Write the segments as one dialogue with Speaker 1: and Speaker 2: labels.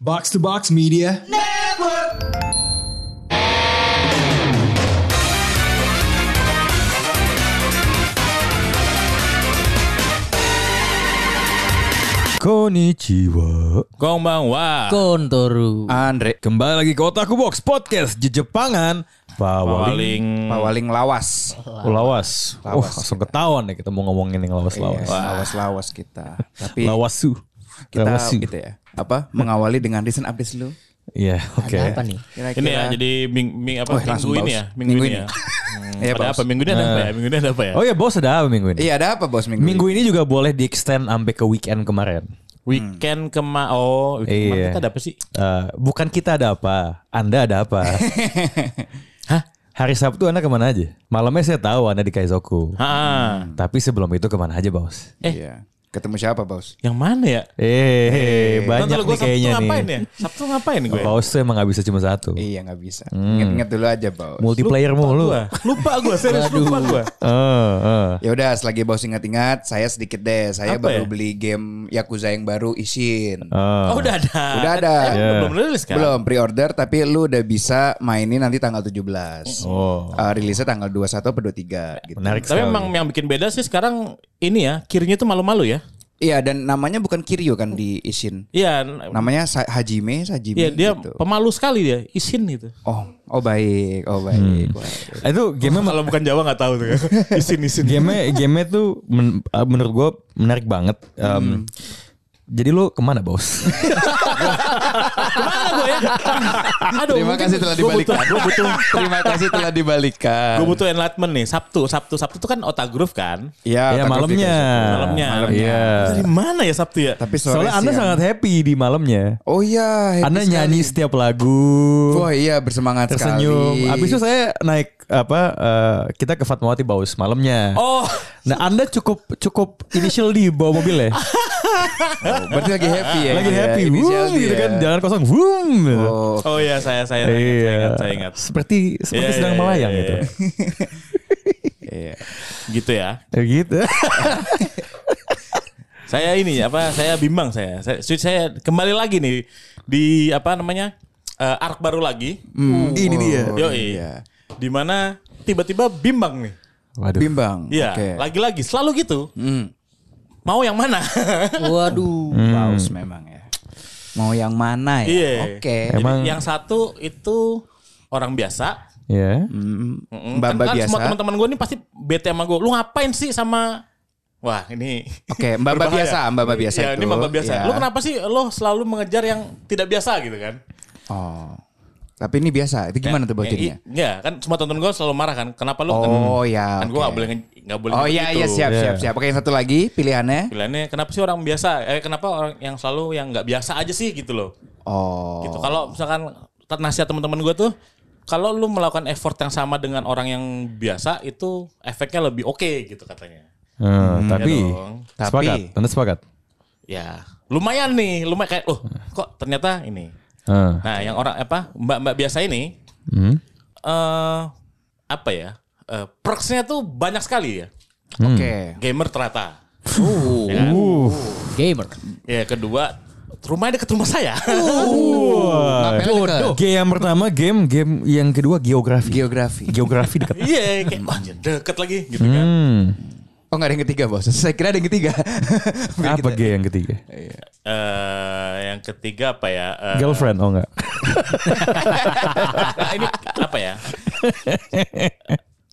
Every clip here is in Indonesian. Speaker 1: Box to Box Media.
Speaker 2: Konnichiwa
Speaker 3: Konbanwa.
Speaker 4: Kontoru.
Speaker 2: Andre Kembali lagi ke Otaku Box Podcast Jejepangan Pawaling
Speaker 3: Paling
Speaker 5: Pawaling lawas.
Speaker 2: Lawas Wah
Speaker 5: Lawas.
Speaker 2: langsung ketahuan ya kita mau ngomongin yang
Speaker 5: Lawas.
Speaker 2: lawas-lawas
Speaker 5: lawas lawas kita. Tapi
Speaker 2: Lawasu
Speaker 5: kita
Speaker 2: Lawasu
Speaker 5: gitu ya. Apa? Mengawali dengan recent updates lu.
Speaker 2: Iya oke
Speaker 4: Ada apa nih?
Speaker 5: Kira-kira.
Speaker 3: ini ya jadi ming, ming apa
Speaker 5: Wah,
Speaker 3: minggu
Speaker 5: langsung
Speaker 3: ini
Speaker 5: baus.
Speaker 3: ya minggu,
Speaker 5: Minggu
Speaker 3: ini
Speaker 5: ini.
Speaker 3: ya. Hmm,
Speaker 5: Iya,
Speaker 3: ada
Speaker 5: baus.
Speaker 3: apa minggu ini ada apa ya? Minggu ini ada apa ya?
Speaker 5: Hmm.
Speaker 2: Oh ya bos ada apa minggu ini?
Speaker 5: Iya ada apa bos minggu,
Speaker 2: Minggu ini juga boleh di extend sampai ke weekend kemarin
Speaker 3: Weekend kema oh weekend kemarin
Speaker 2: Iya.
Speaker 3: kita ada apa sih?
Speaker 2: Eh, Bukan kita ada apa Anda ada apa Hah? Hari Sabtu Anda kemana aja? Malamnya saya tahu Anda di Kaizoku
Speaker 5: Hmm.
Speaker 3: Ha,
Speaker 2: Tapi sebelum itu kemana aja bos?
Speaker 5: Eh. Iya. Ketemu siapa bos?
Speaker 3: yang mana ya?
Speaker 2: Eh, banyak
Speaker 3: Nonton Iya.
Speaker 2: nih
Speaker 3: gua
Speaker 2: kayaknya
Speaker 3: Sabtu ngapain
Speaker 2: nih.
Speaker 3: ya? Sabtu ngapain gue?
Speaker 5: Oh.
Speaker 2: Paus tuh emang gak bisa cuma satu.
Speaker 5: Iya nggak bisa.
Speaker 3: Hmm.
Speaker 5: Ingat-ingat dulu aja bos.
Speaker 2: Multiplayer mulu.
Speaker 3: Gua. Lupa gue, serius lupa gue.
Speaker 2: Eh, eh.
Speaker 5: Ya udah, selagi bos ingat-ingat, saya sedikit deh. Saya
Speaker 3: Apa
Speaker 5: baru
Speaker 3: ya?
Speaker 5: beli game Yakuza yang baru Ishin.
Speaker 2: Eh.
Speaker 3: Oh udah ada.
Speaker 5: Ah. Udah ada.
Speaker 3: Eh,
Speaker 5: Iya.
Speaker 3: Belum rilis kan?
Speaker 5: Belum pre-order tapi lu udah bisa mainin nanti tanggal 17.
Speaker 2: Oh.
Speaker 5: Eh, rilisnya tanggal 21 atau 23 gitu.
Speaker 2: Menarik
Speaker 3: Tapi
Speaker 2: sekali.
Speaker 3: emang yang bikin beda sih sekarang ini ya, kirinya tuh malu-malu ya.
Speaker 5: Iya dan namanya bukan Kiryu kan di Ishin.
Speaker 3: Iya,
Speaker 5: Namanya Sa- Hajime, Sajime
Speaker 3: iya dia
Speaker 5: gitu.
Speaker 3: pemalu sekali dia, isin gitu.
Speaker 5: Oh, oh baik, oh
Speaker 2: Hmm.
Speaker 5: baik. baik.
Speaker 2: itu game
Speaker 3: Kalau bukan Jawa nggak tahu tuh. ya. Isin isin.
Speaker 2: game game tuh men- eh, menurut gue menarik banget. Em,
Speaker 5: Hmm.
Speaker 2: Jadi lu kemana bos?
Speaker 3: Mana gue ya? Aduh,
Speaker 5: Terima
Speaker 3: mungkin
Speaker 5: kasih telah
Speaker 3: gua
Speaker 5: dibalikan.
Speaker 3: butuh- Gue butuh,
Speaker 5: Terima kasih telah dibalikan.
Speaker 3: gue butuh enlightenment nih. Sabtu, Sabtu, Sabtu tuh kan otak groove kan.
Speaker 5: Iya,
Speaker 2: ya
Speaker 5: Otak
Speaker 2: malamnya.
Speaker 5: Fikri.
Speaker 3: Malamnya.
Speaker 2: Iya.
Speaker 3: Dari mana ya Sabtu ya?
Speaker 5: Tapi sore
Speaker 2: Soalnya anda
Speaker 5: siang.
Speaker 2: sangat happy di malamnya.
Speaker 5: Oh iya, happy
Speaker 2: Anda
Speaker 5: sekali.
Speaker 2: nyanyi setiap lagu.
Speaker 5: Oh iya, bersemangat sekali.
Speaker 2: tersenyum. Habis itu saya naik apa eh, kita ke Fatmawati Baus malamnya.
Speaker 3: Oh,
Speaker 2: Nah, Anda cukup cukup initial di bawa mobil ya?
Speaker 5: Oh, berarti lagi happy ya.
Speaker 2: Lagi
Speaker 5: Iya,
Speaker 2: happy,
Speaker 5: inisial
Speaker 2: Wuh,
Speaker 5: dia.
Speaker 2: gitu kan, jalan kosong, wum. gitu.
Speaker 5: Oh,
Speaker 3: oh ya saya saya ingat, saya
Speaker 2: Iya.
Speaker 3: ingat, saya ingat.
Speaker 2: Seperti seperti
Speaker 3: Iya,
Speaker 2: sedang
Speaker 3: iya,
Speaker 2: melayang
Speaker 3: iya,
Speaker 2: gitu.
Speaker 3: iya.
Speaker 5: iya.
Speaker 3: Gitu ya.
Speaker 2: Ya gitu.
Speaker 3: Saya ini apa? Saya bimbang saya. Saya, saya kembali lagi nih di apa namanya? eh, arc baru lagi.
Speaker 2: Ini dia.
Speaker 5: Oh,
Speaker 3: Yo,
Speaker 5: iya.
Speaker 3: iya. Di mana tiba-tiba bimbang nih.
Speaker 2: Waduh.
Speaker 5: Bimbang.
Speaker 3: Iya,
Speaker 5: Oke.
Speaker 3: lagi-lagi selalu gitu. Mau yang mana?
Speaker 4: Waduh.
Speaker 2: Hmm.
Speaker 5: Paus memang ya. Mau yang mana ya?
Speaker 3: Iya.
Speaker 5: Oke.
Speaker 3: Jadi
Speaker 2: Emang-
Speaker 3: yang satu itu orang biasa.
Speaker 2: Ya.
Speaker 3: Mm,
Speaker 5: Mbak Mbak
Speaker 3: kan, kan
Speaker 5: biasa.
Speaker 3: Semua teman-teman gue ini pasti bete sama gue. Lu ngapain sih sama Wah ini
Speaker 5: Oke, Mbak Mbak
Speaker 3: berbahaya.
Speaker 5: biasa, Mbak Mbak biasa
Speaker 3: ya,
Speaker 5: itu.
Speaker 3: ini Mbak Mbak biasa.
Speaker 5: Ya.
Speaker 3: Lu kenapa sih lo selalu mengejar yang tidak biasa gitu kan?
Speaker 5: Oh. Tapi ini biasa. Itu gimana tuh bos
Speaker 3: Ya,
Speaker 5: jadinya?
Speaker 3: i- Ya kan semua tonton gue selalu marah kan. Kenapa lu kan,
Speaker 5: Oh, ya,
Speaker 3: kan gue
Speaker 5: oke.
Speaker 3: gak boleh nge- nggak boleh.
Speaker 5: Oh
Speaker 3: ngebut
Speaker 5: iya
Speaker 3: gitu.
Speaker 5: iya siap
Speaker 2: Iya.
Speaker 5: siap siap. Pakai yang satu lagi pilihannya.
Speaker 3: Pilihannya kenapa sih orang biasa? Eh kenapa orang yang selalu yang nggak biasa aja sih gitu loh.
Speaker 5: Oh.
Speaker 3: Gitu. Kalau misalkan tet- nasihat teman-teman gue tuh kalau lu melakukan effort yang sama dengan orang yang biasa itu efeknya lebih oke gitu katanya.
Speaker 2: Eh, tapi
Speaker 3: Iya dong.
Speaker 5: Tapi-
Speaker 2: sepakat. Anda sepakat.
Speaker 3: ya lumayan nih lumayan kayak oh kok ternyata ini
Speaker 2: Eh,
Speaker 3: nah yang orang apa mbak mbak biasa ini
Speaker 2: hmm.
Speaker 3: eh apa ya Eh perksnya tuh banyak sekali ya
Speaker 5: Oke.
Speaker 3: gamer ternyata
Speaker 5: Uh.
Speaker 3: ya kan?
Speaker 4: Gamer.
Speaker 3: ya kedua rumahnya dekat rumah saya
Speaker 5: Ngapain deket?
Speaker 2: Game yang pertama game, game yang kedua geografi.
Speaker 5: Geografi.
Speaker 2: geografi dekat.
Speaker 3: iya kayak wah, anjir, deket lagi gitu kan
Speaker 2: Hmm.
Speaker 5: Oh nggak ada yang ketiga bos. Saya kira ada yang ketiga. gitu.
Speaker 2: Apa
Speaker 5: Biar kita-
Speaker 2: game yang ketiga?
Speaker 3: Eh yang ketiga apa ya Eh,
Speaker 2: Girlfriend oh enggak.
Speaker 3: ini apa ya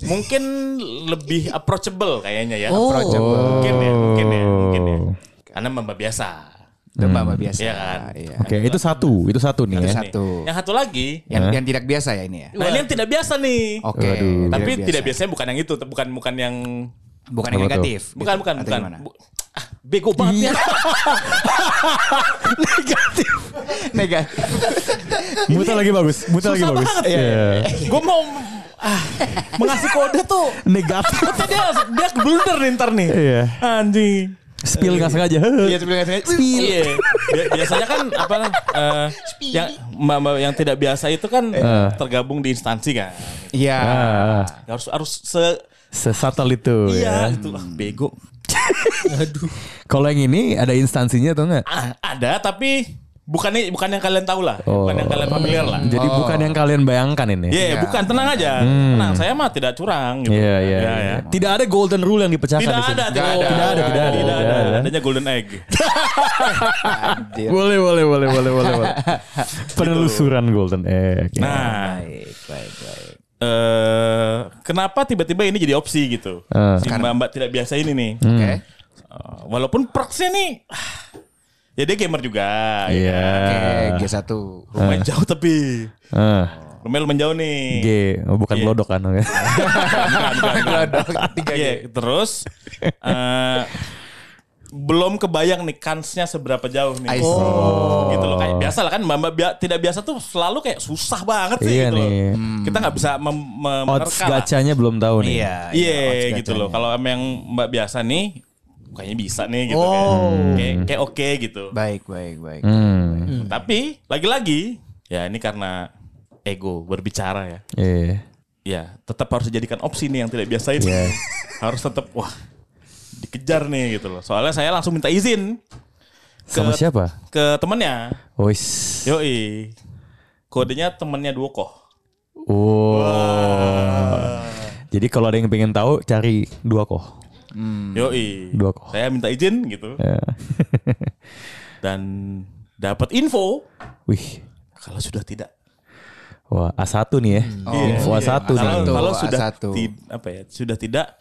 Speaker 3: mungkin lebih approachable kayaknya ya
Speaker 4: Oh.
Speaker 3: mungkin ya mungkin ya mungkin
Speaker 2: Oh.
Speaker 3: ya karena mbak biasa
Speaker 5: Demam
Speaker 2: Hmm.
Speaker 5: apa biasa.
Speaker 3: Iya kan?
Speaker 5: Iya.
Speaker 2: Oke, itu satu, itu satu nih ya.
Speaker 5: satu.
Speaker 3: Iya Nih. Yang satu lagi.
Speaker 5: Yang, yang tidak biasa ya ini ya.
Speaker 3: Nah, ini yang tidak biasa nih.
Speaker 5: Oke.
Speaker 2: Waduh.
Speaker 5: yang
Speaker 3: Tapi tidak biasanya bukan yang itu, bukan bukan yang
Speaker 5: Bukan yang
Speaker 2: Apa tuh?
Speaker 5: negatif.
Speaker 3: bukan
Speaker 5: gitu,
Speaker 3: bukan
Speaker 5: atau
Speaker 3: bukan.
Speaker 5: gimana?
Speaker 3: Bu- ah, bego banget ya.
Speaker 5: Negatif.
Speaker 2: Muta lagi bagus, muta lagi
Speaker 3: Susah
Speaker 2: bagus.
Speaker 3: banget.
Speaker 2: Iya.
Speaker 3: Gue mau ah, mengasih kode tuh.
Speaker 2: Negatif.
Speaker 3: Tapi dia dia blunder nih ntar nih.
Speaker 2: Iya.
Speaker 3: Anjing.
Speaker 2: Spill enggak sengaja.
Speaker 5: Iya sebenarnya saya.
Speaker 3: Iya. Bi- Biasanya kan apa eh, yang mbak mbak yang tidak biasa itu kan
Speaker 2: Iya.
Speaker 3: tergabung di instansi kan.
Speaker 5: Iya.
Speaker 2: Ah,
Speaker 3: Harus harus se
Speaker 2: sesatel itu ya.
Speaker 3: iya itu ah, bego.
Speaker 2: Kalau yang ini ada instansinya atau enggak?
Speaker 3: Ah, ada tapi Bukan nih, bukan yang kalian tahu lah,
Speaker 2: Oh.
Speaker 3: bukan yang kalian familiar lah.
Speaker 2: Jadi bukan yang kalian bayangkan ini.
Speaker 3: Oh. Iya,
Speaker 5: Iya.
Speaker 3: bukan tenang aja. Tenang, saya mah tidak curang gitu.
Speaker 2: Iya, iya,
Speaker 3: Ya,
Speaker 2: iya.
Speaker 3: ya.
Speaker 2: Tidak ada golden rule yang dipecahkan
Speaker 3: Tidak
Speaker 2: di sini.
Speaker 3: ada, tidak ada.
Speaker 2: Tidak ada, tidak ada,
Speaker 3: Tidak
Speaker 2: tidak ada.
Speaker 3: ada. Adanya golden egg.
Speaker 5: Anjir.
Speaker 2: Boleh, boleh, boleh, boleh, boleh, boleh. Penelusuran golden egg.
Speaker 3: Nah,
Speaker 5: Baik, baik, baik.
Speaker 3: eh kenapa tiba-tiba ini jadi opsi gitu?
Speaker 2: Eh.
Speaker 3: Si Mbak-mbak tidak biasa ini nih.
Speaker 5: Oke.
Speaker 2: Hmm.
Speaker 3: Eh, walaupun proxnya nih ah, ya dia gamer juga. ya.
Speaker 2: Iya.
Speaker 5: Oke, G1.
Speaker 3: Rumah jauh tapi
Speaker 2: Ah,
Speaker 3: rumah lumayan jauh nih.
Speaker 2: G, oh, bukan
Speaker 3: Iya.
Speaker 2: lodok kan.
Speaker 3: Bukan, bukan, bukan.
Speaker 5: Glodok, tiga G.
Speaker 3: Iya, terus eh, belum kebayang nih kansnya seberapa jauh
Speaker 5: I
Speaker 3: nih.
Speaker 5: see.
Speaker 3: Gitu loh kayak biasa lah kan mbak mbak bia- tidak biasa tuh selalu kayak susah banget sih
Speaker 2: Iya
Speaker 3: gitu loh.
Speaker 2: nih.
Speaker 3: Kita nggak bisa mem- mem-
Speaker 2: Odds
Speaker 3: menerka lah.
Speaker 2: gacanya belum tahu nih.
Speaker 3: Iya
Speaker 5: odds
Speaker 3: gitu
Speaker 5: gacanya.
Speaker 3: loh. Kalau sama yang mbak biasa nih kayaknya bisa nih gitu kayak- kayak kayak oke gitu.
Speaker 5: Baik, baik, baik.
Speaker 2: Hmm.
Speaker 3: Tapi lagi-lagi ya ini karena ego berbicara ya.
Speaker 2: Iya.
Speaker 3: Ya tetap harus dijadikan opsi nih yang tidak biasa ini.
Speaker 2: Iya.
Speaker 3: harus tetap wah dikejar nih gitu loh. Soalnya saya langsung minta izin
Speaker 2: Sama
Speaker 3: Ke-
Speaker 2: siapa?
Speaker 3: ke temennya.
Speaker 2: Wis.
Speaker 3: Yoi. Kodenya temennya Duokoh.
Speaker 2: Wow. Jadi kalau ada yang pengen tahu cari dua koh.
Speaker 5: Hmm.
Speaker 3: Yoi.
Speaker 2: Duokoh.
Speaker 3: Saya minta izin gitu
Speaker 2: Ya.
Speaker 5: Iya.
Speaker 3: dan dapat info
Speaker 2: Wih.
Speaker 3: kalau sudah tidak
Speaker 2: Wah, A1 nih ya. Info
Speaker 5: iya.
Speaker 2: A1 nih.
Speaker 5: Satu,
Speaker 3: kalau kalau
Speaker 5: ah,
Speaker 3: sudah
Speaker 5: satu.
Speaker 3: ti- apa ya sudah tidak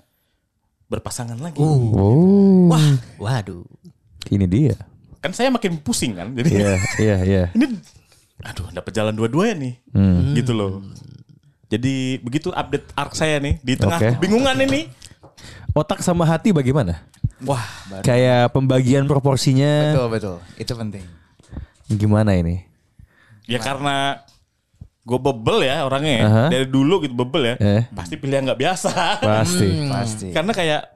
Speaker 3: berpasangan lagi
Speaker 5: Uh.
Speaker 2: Oh.
Speaker 4: Waduh.
Speaker 2: Ini dia.
Speaker 3: kan saya makin pusing kan jadi
Speaker 2: Iya, iya, iya.
Speaker 3: ini aduh dapat jalan dua-duanya nih
Speaker 2: Hmm.
Speaker 3: gitu loh jadi begitu update arc saya nih di tengah
Speaker 2: Oke.
Speaker 3: kebingungan ini
Speaker 2: Otak sama hati bagaimana?
Speaker 5: Wah,
Speaker 2: Kayak pembagian proporsinya
Speaker 5: betul, betul. Itu penting.
Speaker 2: gimana ini?
Speaker 3: ya karena gue bebel ya orangnya ya.
Speaker 2: Aha.
Speaker 3: dari dulu gitu bebel ya
Speaker 2: Eh.
Speaker 3: pasti pilih yang nggak biasa Hmm.
Speaker 2: Pasti.
Speaker 5: Pasti.
Speaker 3: karena kayak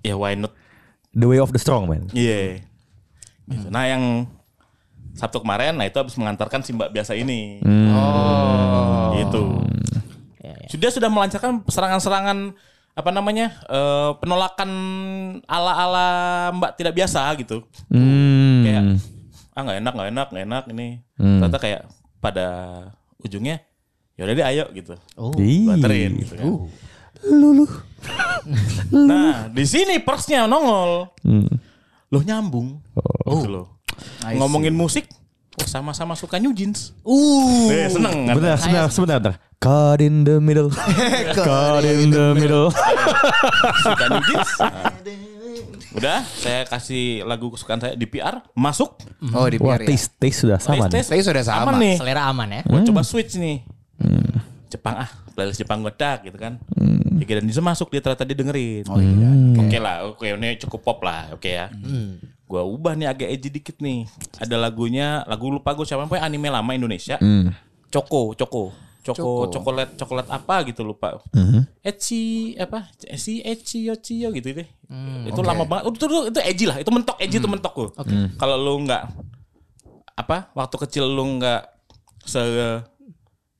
Speaker 3: ya why not
Speaker 2: The way of the strong man.
Speaker 3: iya Gitu. nah yang Sabtu kemarin nah itu habis mengantarkan si mbak biasa ini
Speaker 5: Oh.
Speaker 3: gitu. Sudah sudah melancarkan serangan-serangan apa namanya eh, penolakan ala-ala Mbak tidak biasa gitu.
Speaker 2: Hmm.
Speaker 3: Kayak ah nggak enak nggak enak nggak enak ini. Ternyata kayak pada ujungnya ya udah deh ayo gitu.
Speaker 4: Oh.
Speaker 3: Gua
Speaker 2: Ih. Uh.
Speaker 3: anterin gitu kan. Nah, di sini persnya nongol.
Speaker 2: Hmm. Oh.
Speaker 3: Loh nyambung.
Speaker 5: Oh.
Speaker 3: Gitu loh.
Speaker 5: I see.
Speaker 3: Ngomongin musik, oh sama-sama suka New Jeans.
Speaker 4: Uh.
Speaker 3: Eh, seneng kan?
Speaker 2: Benar, sebentar, sebentar, bentar. Caught in the middle. Caught in the middle.
Speaker 3: suka New Jeans. Nah. Udah, saya kasih lagu kesukaan saya di PR, masuk.
Speaker 5: Oh, di
Speaker 2: Wah,
Speaker 5: biar ya.
Speaker 2: taste, taste sudah sama nih. Hmm.
Speaker 3: Taste-taste.
Speaker 5: Tapi sudah sama.
Speaker 3: Aman nih.
Speaker 4: Selera aman ya.
Speaker 3: Gua coba switch nih. Jepang ah, playlist Jepang gue dak gitu kan. Ya kira bisa masuk dia ternyata dia dengerin.
Speaker 5: Oh iya. Hmm.
Speaker 3: Oke lah, oke ini cukup pop lah, oke ya. Gua ubah nih agak edgy dikit nih. Ada lagunya, lagu lupa gue siapa, pokoknya anime lama Indonesia. Coko, Coko. Coko, coklat, coklat apa gitu lupa. Eci apa? Eci, Eci, Yoci, gitu deh.
Speaker 5: Hmm,
Speaker 3: itu lama banget. Itu, itu, itu edgy lah. Itu mentok, edgy itu mentok gue. Kalau lu nggak apa? Waktu kecil lu nggak se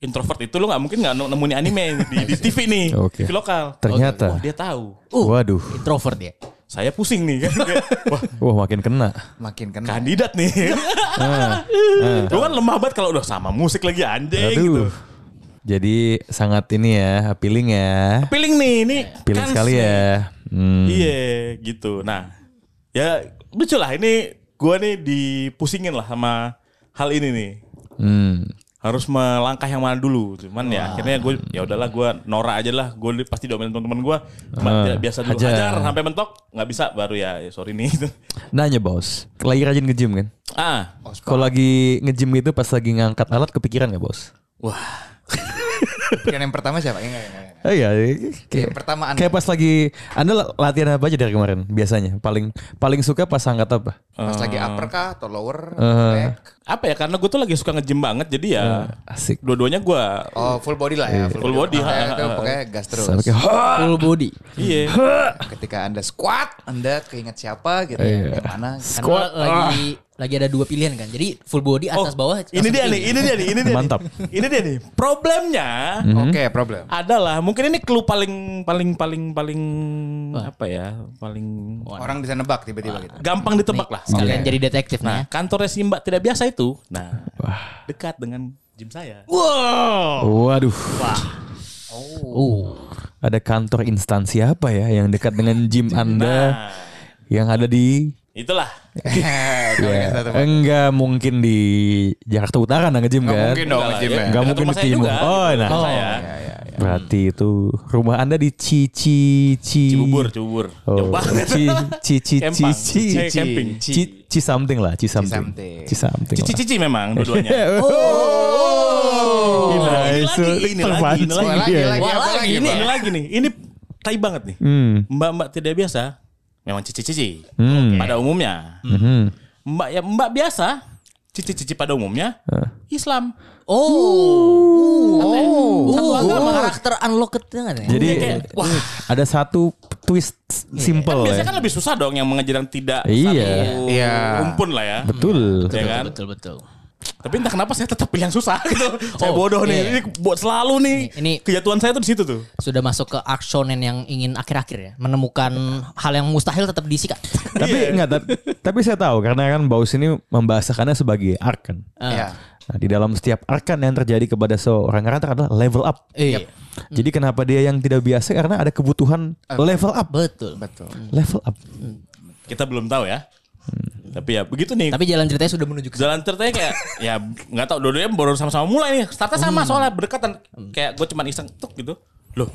Speaker 3: introvert itu lu nggak mungkin nggak nemuin anime di, di TV nih,
Speaker 2: Oke.
Speaker 3: TV lokal.
Speaker 2: Ternyata.
Speaker 3: Wah dia tahu
Speaker 2: Waduh,
Speaker 4: Introvert ya.
Speaker 3: saya pusing nih kan. Wah,
Speaker 2: wah makin kena.
Speaker 5: Makin kena.
Speaker 3: kandidat nih. Lu kan lemah banget kalau udah sama musik lagi anjing gitu.
Speaker 2: Ah, Aduh. Jadi sangat ini ya, appealing ya.
Speaker 3: Piling nih ini.
Speaker 2: Appealing
Speaker 4: Kan
Speaker 3: kans
Speaker 2: sekali
Speaker 3: nih.
Speaker 2: ya. Hmm.
Speaker 3: Iya, gitu. Nah, ya lucu lah ini gua nih dipusingin lah sama hal ini nih.
Speaker 2: Hmm.
Speaker 3: Harus melangkah yang mana dulu. Cuman ya akhirnya gue ya udahlah gua Nora aja lah. Gue pasti domelin teman-teman gua. Cuma
Speaker 2: Ah,
Speaker 3: tidak biasa dulu
Speaker 2: hajar.
Speaker 3: hajar. sampai mentok nggak bisa baru ya, ya sorry nih.
Speaker 2: Nanya bos, lagi rajin nge-gym kan?
Speaker 3: ah,
Speaker 2: Kalau lagi nge-gym gitu pas lagi ngangkat alat kepikiran gak bos?
Speaker 3: wah.
Speaker 5: Yang, yang pertama siapa? Enggak, enggak, enggak.
Speaker 2: Eh, Iya,
Speaker 5: Yang
Speaker 2: kayak,
Speaker 5: pertama Anda.
Speaker 2: kayak pas lagi Anda la- latihan apa aja dari kemarin biasanya? Paling paling suka pas angkat apa?
Speaker 5: Pas
Speaker 3: Oh.
Speaker 5: lagi upper kah atau lower?
Speaker 3: Uh-huh.
Speaker 5: Back?
Speaker 3: Apa ya karena gue tuh lagi suka nge-gym banget jadi ya
Speaker 2: Iya. Asik.
Speaker 3: dua-duanya gua
Speaker 5: Oh, full body lah ya.
Speaker 3: Iya. Full body,
Speaker 5: Pokoknya
Speaker 3: ha, ha,
Speaker 5: itu
Speaker 3: ha.
Speaker 5: pokoknya gas terus.
Speaker 2: Sampai kayak, "Hah!"
Speaker 4: Full body.
Speaker 3: Iya.
Speaker 2: Hmm.
Speaker 5: Ketika Anda squat, Anda keinget siapa gitu
Speaker 3: Iya.
Speaker 5: ya. Yang mana? gitu.
Speaker 4: Karena lagi lagi ada dua pilihan kan. Jadi full body atas bawah.
Speaker 3: Ah. Oh, ini
Speaker 4: langsung
Speaker 3: dia
Speaker 4: kiri.
Speaker 3: nih, ini dia nih, ini dia. nih.
Speaker 2: Mantap. Hmm.
Speaker 3: Ini dia nih. Problemnya ada.
Speaker 5: Oke, problem.
Speaker 3: Ada lah. Mungkin ini clue paling paling paling paling apa ya? Paling
Speaker 5: Orang bisa nebak tiba-tiba gitu.
Speaker 3: gampang ditebak lah.
Speaker 4: Sekalian jadi detektif
Speaker 3: Nah,
Speaker 4: nah.
Speaker 3: kantornya si Mbak tidak biasa itu. Nah, dekat dengan gym saya.
Speaker 2: Waduh.
Speaker 4: Oh.
Speaker 2: Ada kantor instansi apa ya yang dekat dengan gym Anda
Speaker 3: Nah,
Speaker 2: yang ada di
Speaker 3: itulah.
Speaker 2: Iya.
Speaker 3: Iya.
Speaker 5: Kalau nggak salah tempat.
Speaker 2: enggak mungkin di Jakarta Utara nah nge-gym
Speaker 5: Nggak
Speaker 2: kan?
Speaker 5: mungkin dong
Speaker 3: Enggak lah,
Speaker 5: nge-gym
Speaker 3: ya.
Speaker 2: Enggak
Speaker 3: Dekat
Speaker 2: mungkin di
Speaker 3: rumah saya
Speaker 2: timur.
Speaker 3: juga,
Speaker 2: Oh,
Speaker 3: gitu,
Speaker 2: nah.
Speaker 3: rumah saya. iya.
Speaker 2: Berarti itu rumah Anda di Cici Ci
Speaker 3: Cibubur, Cibubur. Jauh
Speaker 2: Oh,
Speaker 3: banget.
Speaker 2: Ci Ci Ci Ci
Speaker 3: Kempang.
Speaker 2: Ci
Speaker 3: Saya
Speaker 2: Ci
Speaker 3: camping.
Speaker 2: Ci Ci something lah, Ci something.
Speaker 5: something.
Speaker 2: Ci something. lah.
Speaker 3: Cici-cici memang dua-duanya.
Speaker 2: Ini lah,
Speaker 3: Oh, ini
Speaker 2: Oh. Nah, itu
Speaker 3: lagi, ini lagi, ini
Speaker 2: terpancing
Speaker 3: lagi.
Speaker 2: dia.
Speaker 5: Lagi
Speaker 3: Wah,
Speaker 5: apa lagi,
Speaker 3: lagi ini,
Speaker 5: Pak?
Speaker 3: ini lagi nih. Ini tai banget nih.
Speaker 2: Hmm.
Speaker 3: Mbak-mbak tidak biasa memang cici-cici.
Speaker 2: Hmm.
Speaker 3: Pada umumnya.
Speaker 2: Mhm.
Speaker 3: Mbak ya mbak biasa cici-cici pada umumnya Islam. Uh.
Speaker 4: Oh. Oh.
Speaker 3: Satu agama.
Speaker 4: Karakter unlocked kan ya?
Speaker 2: Jadi
Speaker 3: Wah.
Speaker 2: ada satu twist simple ya.
Speaker 3: Biasanya kan lebih susah dong yang mengajar yang tidak
Speaker 2: Iya.
Speaker 3: satu
Speaker 5: Iya.
Speaker 3: rumpun lah ya.
Speaker 2: Betul.
Speaker 3: Ya kan?
Speaker 4: Betul betul.
Speaker 3: Tapi entah kenapa saya tetap pilih yang susah gitu. saya
Speaker 4: Oh,
Speaker 3: bodoh nih.
Speaker 4: iya.
Speaker 3: Ini buat selalu nih. Ini,
Speaker 4: Ini-
Speaker 3: kejatuhan saya tuh di situ tuh.
Speaker 4: Sudah masuk ke akshonen yang ingin akhir-akhir ya, menemukan hal yang mustahil tetap disikat.
Speaker 2: Tapi
Speaker 3: Iya.
Speaker 2: enggak tapi, tapi saya tahu karena kan Baus ini membahasakannya sebagai arc kan.
Speaker 3: Ah.
Speaker 5: Iya.
Speaker 2: Nah, di dalam setiap arkan yang terjadi kepada seorang karakter adalah level up.
Speaker 4: Iya.
Speaker 2: Hmm. Jadi kenapa dia yang tidak biasa karena ada kebutuhan level up,
Speaker 4: Betul.
Speaker 5: Betul.
Speaker 2: level up.
Speaker 3: Kita belum tahu ya.
Speaker 2: Hmm.
Speaker 3: Tapi ya begitu nih.
Speaker 4: Tapi jalan ceritanya sudah menuju ke
Speaker 3: jalan ceritanya kayak ya nggak tahu dua-duanya baru sama-sama mulai nih startnya sama soalnya berdekatan kayak gue cuman iseng tuk gitu loh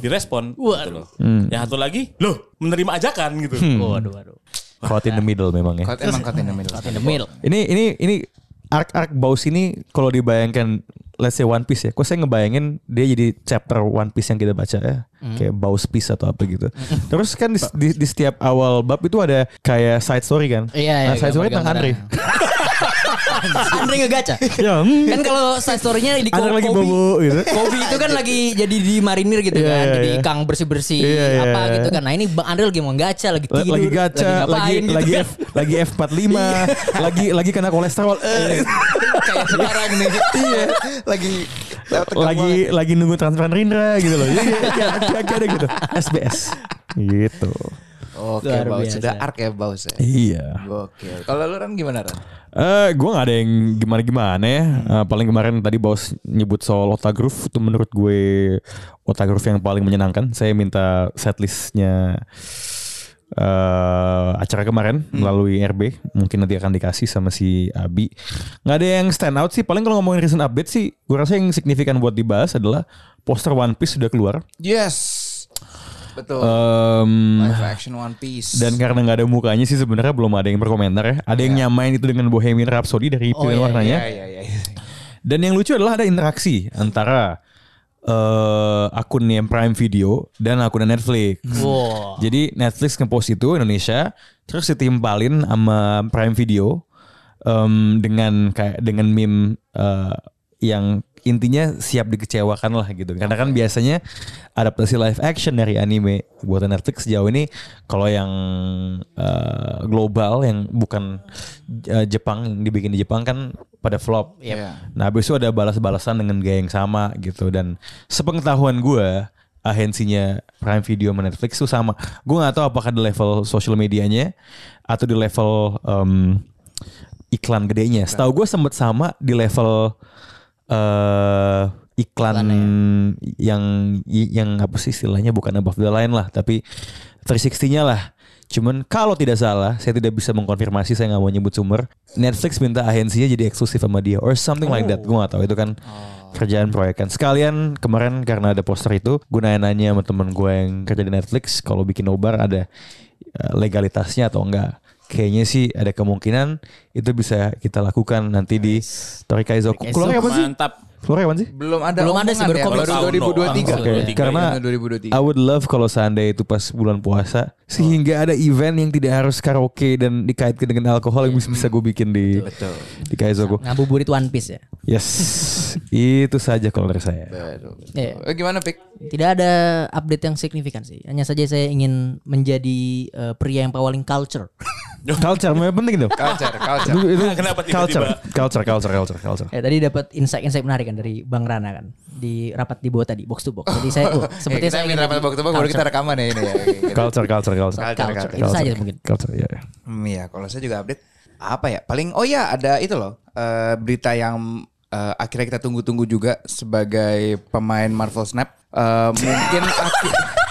Speaker 3: direspon gitu loh
Speaker 2: Hmm.
Speaker 3: yang satu lagi loh menerima ajakan gitu
Speaker 4: Waduh, waduh.
Speaker 2: Caught in the middle memang ya.
Speaker 5: Kot- Emang kota Indonesia.
Speaker 4: In the middle.
Speaker 2: Ini ini ini arc-arc Baus ini kalau dibayangkan let's say One Piece ya. Kok saya ngebayangin dia jadi chapter One Piece yang kita baca ya.
Speaker 4: Hmm.
Speaker 2: Kayak Baus Piece atau apa gitu. Terus kan di, di- di setiap awal bab itu ada kayak side story kan.
Speaker 4: Iya, iya,
Speaker 2: Nah, side story tentang Andre.
Speaker 4: gambar-gambaran. Andre ngegaca.
Speaker 3: Ya,
Speaker 2: Yang
Speaker 3: hmm.
Speaker 4: Kan kalau side story-nya di
Speaker 2: Andre
Speaker 4: Ko-
Speaker 2: lagi
Speaker 4: Kobe.
Speaker 2: bobo gitu.
Speaker 4: Kobe itu kan lagi jadi di marinir gitu
Speaker 2: Iya,
Speaker 4: kan,
Speaker 2: iya,
Speaker 4: jadi
Speaker 2: iya.
Speaker 4: kang bersih-bersih
Speaker 2: Iya, iya,
Speaker 4: apa
Speaker 2: iya.
Speaker 4: gitu kan. Nah, ini Bang Andre lagi mau gacha, lagi
Speaker 2: L-
Speaker 4: tidur,
Speaker 2: lagi gacha, lagi
Speaker 4: ngapain gitu
Speaker 2: lagi
Speaker 4: kan. Iya.
Speaker 2: F, lagi F45, lagi lagi kena kolesterol, eh,
Speaker 5: Kayak sekarang nih. Iya. Lagi
Speaker 2: lagi lagi nunggu transferan Rindra gitu loh. Jadi kayak kayak- kayak ada gitu. SBS. Gitu.
Speaker 5: Oke,
Speaker 4: Luar
Speaker 5: Baus.
Speaker 4: biasa.
Speaker 5: Sudah arc ya, Baus ya.
Speaker 2: Iya.
Speaker 5: Oke. Kalau lu Ran gimana, Ran?
Speaker 2: Eh, gue nggak ada yang gimana-gimana ya. Eh, paling kemarin tadi bos nyebut soal Otagroove itu menurut gue Otagroove yang paling menyenangkan. Saya minta setlistnya eh acara kemarin melalui RB. Mungkin nanti akan dikasih sama si Abi. Nggak ada yang stand out sih. Paling kalau ngomongin recent update sih, gue rasa yang signifikan buat dibahas adalah poster One Piece sudah keluar.
Speaker 5: Yes. Betul.
Speaker 2: Em,
Speaker 5: Live action One Piece.
Speaker 2: Um, dan karena nggak ada mukanya sih sebenarnya belum ada yang berkomentar ya. Ada yang nyamain itu dengan Bohemian Rhapsody dari pilihan
Speaker 4: iya,
Speaker 2: warnanya.
Speaker 5: Iya, iya, iya.
Speaker 2: Dan yang lucu adalah ada interaksi antara eh akun yang Prime Video dan akun Netflix.
Speaker 4: Wow.
Speaker 2: Jadi Netflix ngepost itu Indonesia, terus ditimpalin sama Prime Video em, dengan kayak dengan meme eh, yang intinya siap dikecewakan lah gitu. Karena kan biasanya adaptasi live action dari anime buatan Netflix sejauh ini kalau yang eh, global yang bukan eh, Jepang yang dibikin di Jepang kan pada flop.
Speaker 5: Iya.
Speaker 2: Nah habis itu ada balas-balasan dengan gaya yang sama gitu dan sepengetahuan gue ahensinya Prime Video sama Netflix itu sama. Gue nggak tahu apakah di level social medianya atau di level em, iklan gedenya. Setahu gue sempet sama di level eh iklan ya. yang yang apa sih istilahnya bukan above the line lah tapi 360-nya lah. Cuman kalau tidak salah, saya tidak bisa mengkonfirmasi, saya nggak mau nyebut sumber. Netflix minta agensinya jadi eksklusif sama dia, or something like that. Gue nggak tahu itu kan kerjaan proyekan. Sekalian kemarin karena ada poster itu, gue nanya-nanya sama temen gue yang kerja di Netflix, kalau bikin nobar ada eh, legalitasnya atau enggak. Kayaknya sih ada kemungkinan itu bisa kita lakukan nanti di Torikaizoku.
Speaker 4: Torikaizoku.
Speaker 2: Keluarnya kapan sih?
Speaker 3: mantap
Speaker 2: Keluarnya kapan sih?
Speaker 5: Belum ada
Speaker 4: Belum ada sih,
Speaker 5: omongan ya, baru
Speaker 4: berkomentar.
Speaker 3: Tahun
Speaker 2: Oke,
Speaker 5: 2023.
Speaker 4: dong.
Speaker 3: Iya,
Speaker 2: karena
Speaker 5: iya, 2023.
Speaker 2: I would love kalau seandainya itu pas bulan puasa sehingga ada event yang tidak harus karaoke dan dikaitkan dengan alkohol yang bisa gue bikin di di Kaizoku.
Speaker 4: Ngabuburit One Piece ya.
Speaker 2: Yes. Itu saja kalau dari saya.
Speaker 5: Baru.
Speaker 4: Iya.
Speaker 5: Eh, Gimana Pik?
Speaker 4: Tidak ada update yang signifikan sih. Hanya saja saya ingin menjadi eh, pria yang paling culture.
Speaker 2: Culture memang penting tuh.
Speaker 5: Culture, culture.
Speaker 2: Itu- itu
Speaker 3: Kenapa tiba-tiba?
Speaker 2: culture, culture, culture, culture, culture.
Speaker 4: Ya, tadi dapat insight-insight menarik kan dari Bang Rana kan di rapat di bawah tadi box to box. Jadi saya oh,
Speaker 5: Seperti Eh, kita
Speaker 4: sepertinya saya
Speaker 5: ingin
Speaker 4: ingin
Speaker 5: rapat
Speaker 4: jadi
Speaker 5: tebak baru kita
Speaker 4: culture.
Speaker 5: rekaman ya ini ya.
Speaker 2: Culture, culture, culture.
Speaker 5: Culture,
Speaker 4: culture. Itu
Speaker 2: Culture,
Speaker 4: saja mungkin.
Speaker 2: Culture, ya. ya.
Speaker 5: Hmm, ya kalau saya juga update apa ya? Paling oh ya ada itu loh eh, berita yang eh, akhirnya kita tunggu-tunggu juga sebagai pemain Marvel Snap. Eh, mungkin aki-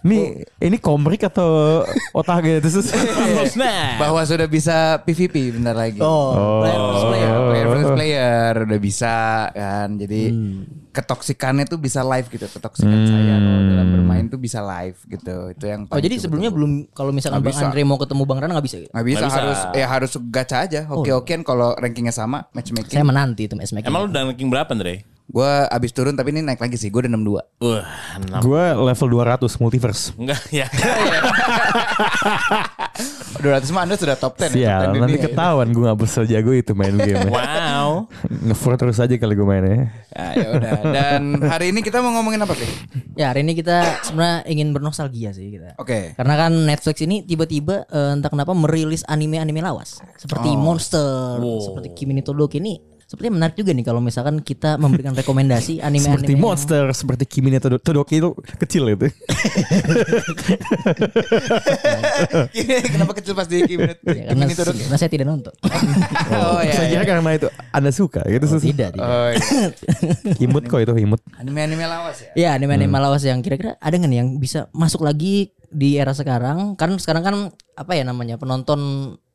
Speaker 2: Ini ini komrik atau otak gitu terus.
Speaker 3: Terus, nah.
Speaker 5: bahwa sudah bisa PVP bentar lagi.
Speaker 4: Oh, players, player.
Speaker 5: player, player versus player udah bisa kan. Jadi
Speaker 4: Hmm.
Speaker 5: ketoksikannya tuh bisa live gitu. Ketoksikan saya kalau dalam bermain tuh bisa live gitu. Itu yang
Speaker 4: Hmm. Oh, jadi sebelumnya belum kalau misalkan
Speaker 5: Nggak
Speaker 4: Bang
Speaker 5: bisa.
Speaker 4: Andre mau ketemu Bang Rana nggak bisa Oh. gitu.
Speaker 5: nggak bisa,
Speaker 3: Nggak bisa.
Speaker 5: harus ya harus gacha aja. Oke-okean kalau rankingnya sama
Speaker 4: Saya
Speaker 5: matchmaking.
Speaker 4: menanti itu matchmaking.
Speaker 3: Emang lu udah ranking berapa, Andre?
Speaker 5: Gue abis turun tapi ini naik lagi sih. Gue udah 62.
Speaker 3: Wah, enam.
Speaker 2: Gue level 200 multiverse.
Speaker 3: Enggak ya.
Speaker 5: 200 mah Anda sudah top 10 ya.
Speaker 2: Sial,
Speaker 5: Top 10
Speaker 2: nanti
Speaker 5: dunia.
Speaker 2: ketahuan gue gak bisa jago itu main game. ya.
Speaker 3: Wow.
Speaker 2: Ngefor terus aja kali gue mainnya.
Speaker 5: Ya, ya udah. Dan hari ini kita mau ngomongin apa sih?
Speaker 4: Ya hari ini kita sebenarnya ingin bernostalgia sih kita.
Speaker 5: Oke.
Speaker 4: Karena kan Netflix ini tiba-tiba eh, entah kenapa merilis anime-anime lawas seperti Monster, seperti Kimi no Todoke ini. Sepertinya menarik juga nih kalau misalkan kita memberikan rekomendasi anime-anime.
Speaker 2: Seperti
Speaker 4: yang-
Speaker 2: monster, seperti Kimi no Todo- Todoki itu kecil itu.
Speaker 5: Kenapa kecil pas di Kimi
Speaker 4: Ya, karena,
Speaker 5: Kimi Todoke?
Speaker 4: karena saya tidak nonton.
Speaker 5: Oh
Speaker 2: Saya
Speaker 5: iya.
Speaker 2: kira karena itu Anda suka gitu.
Speaker 4: Oh,
Speaker 2: Sus.
Speaker 4: tidak, tidak.
Speaker 5: Oh, iya.
Speaker 2: Imut kok itu imut.
Speaker 5: Anime-anime lawas ya.
Speaker 4: Ya anime-anime lawas yang kira-kira ada nggak nih yang bisa masuk lagi di era sekarang? Karena sekarang kan apa ya namanya penonton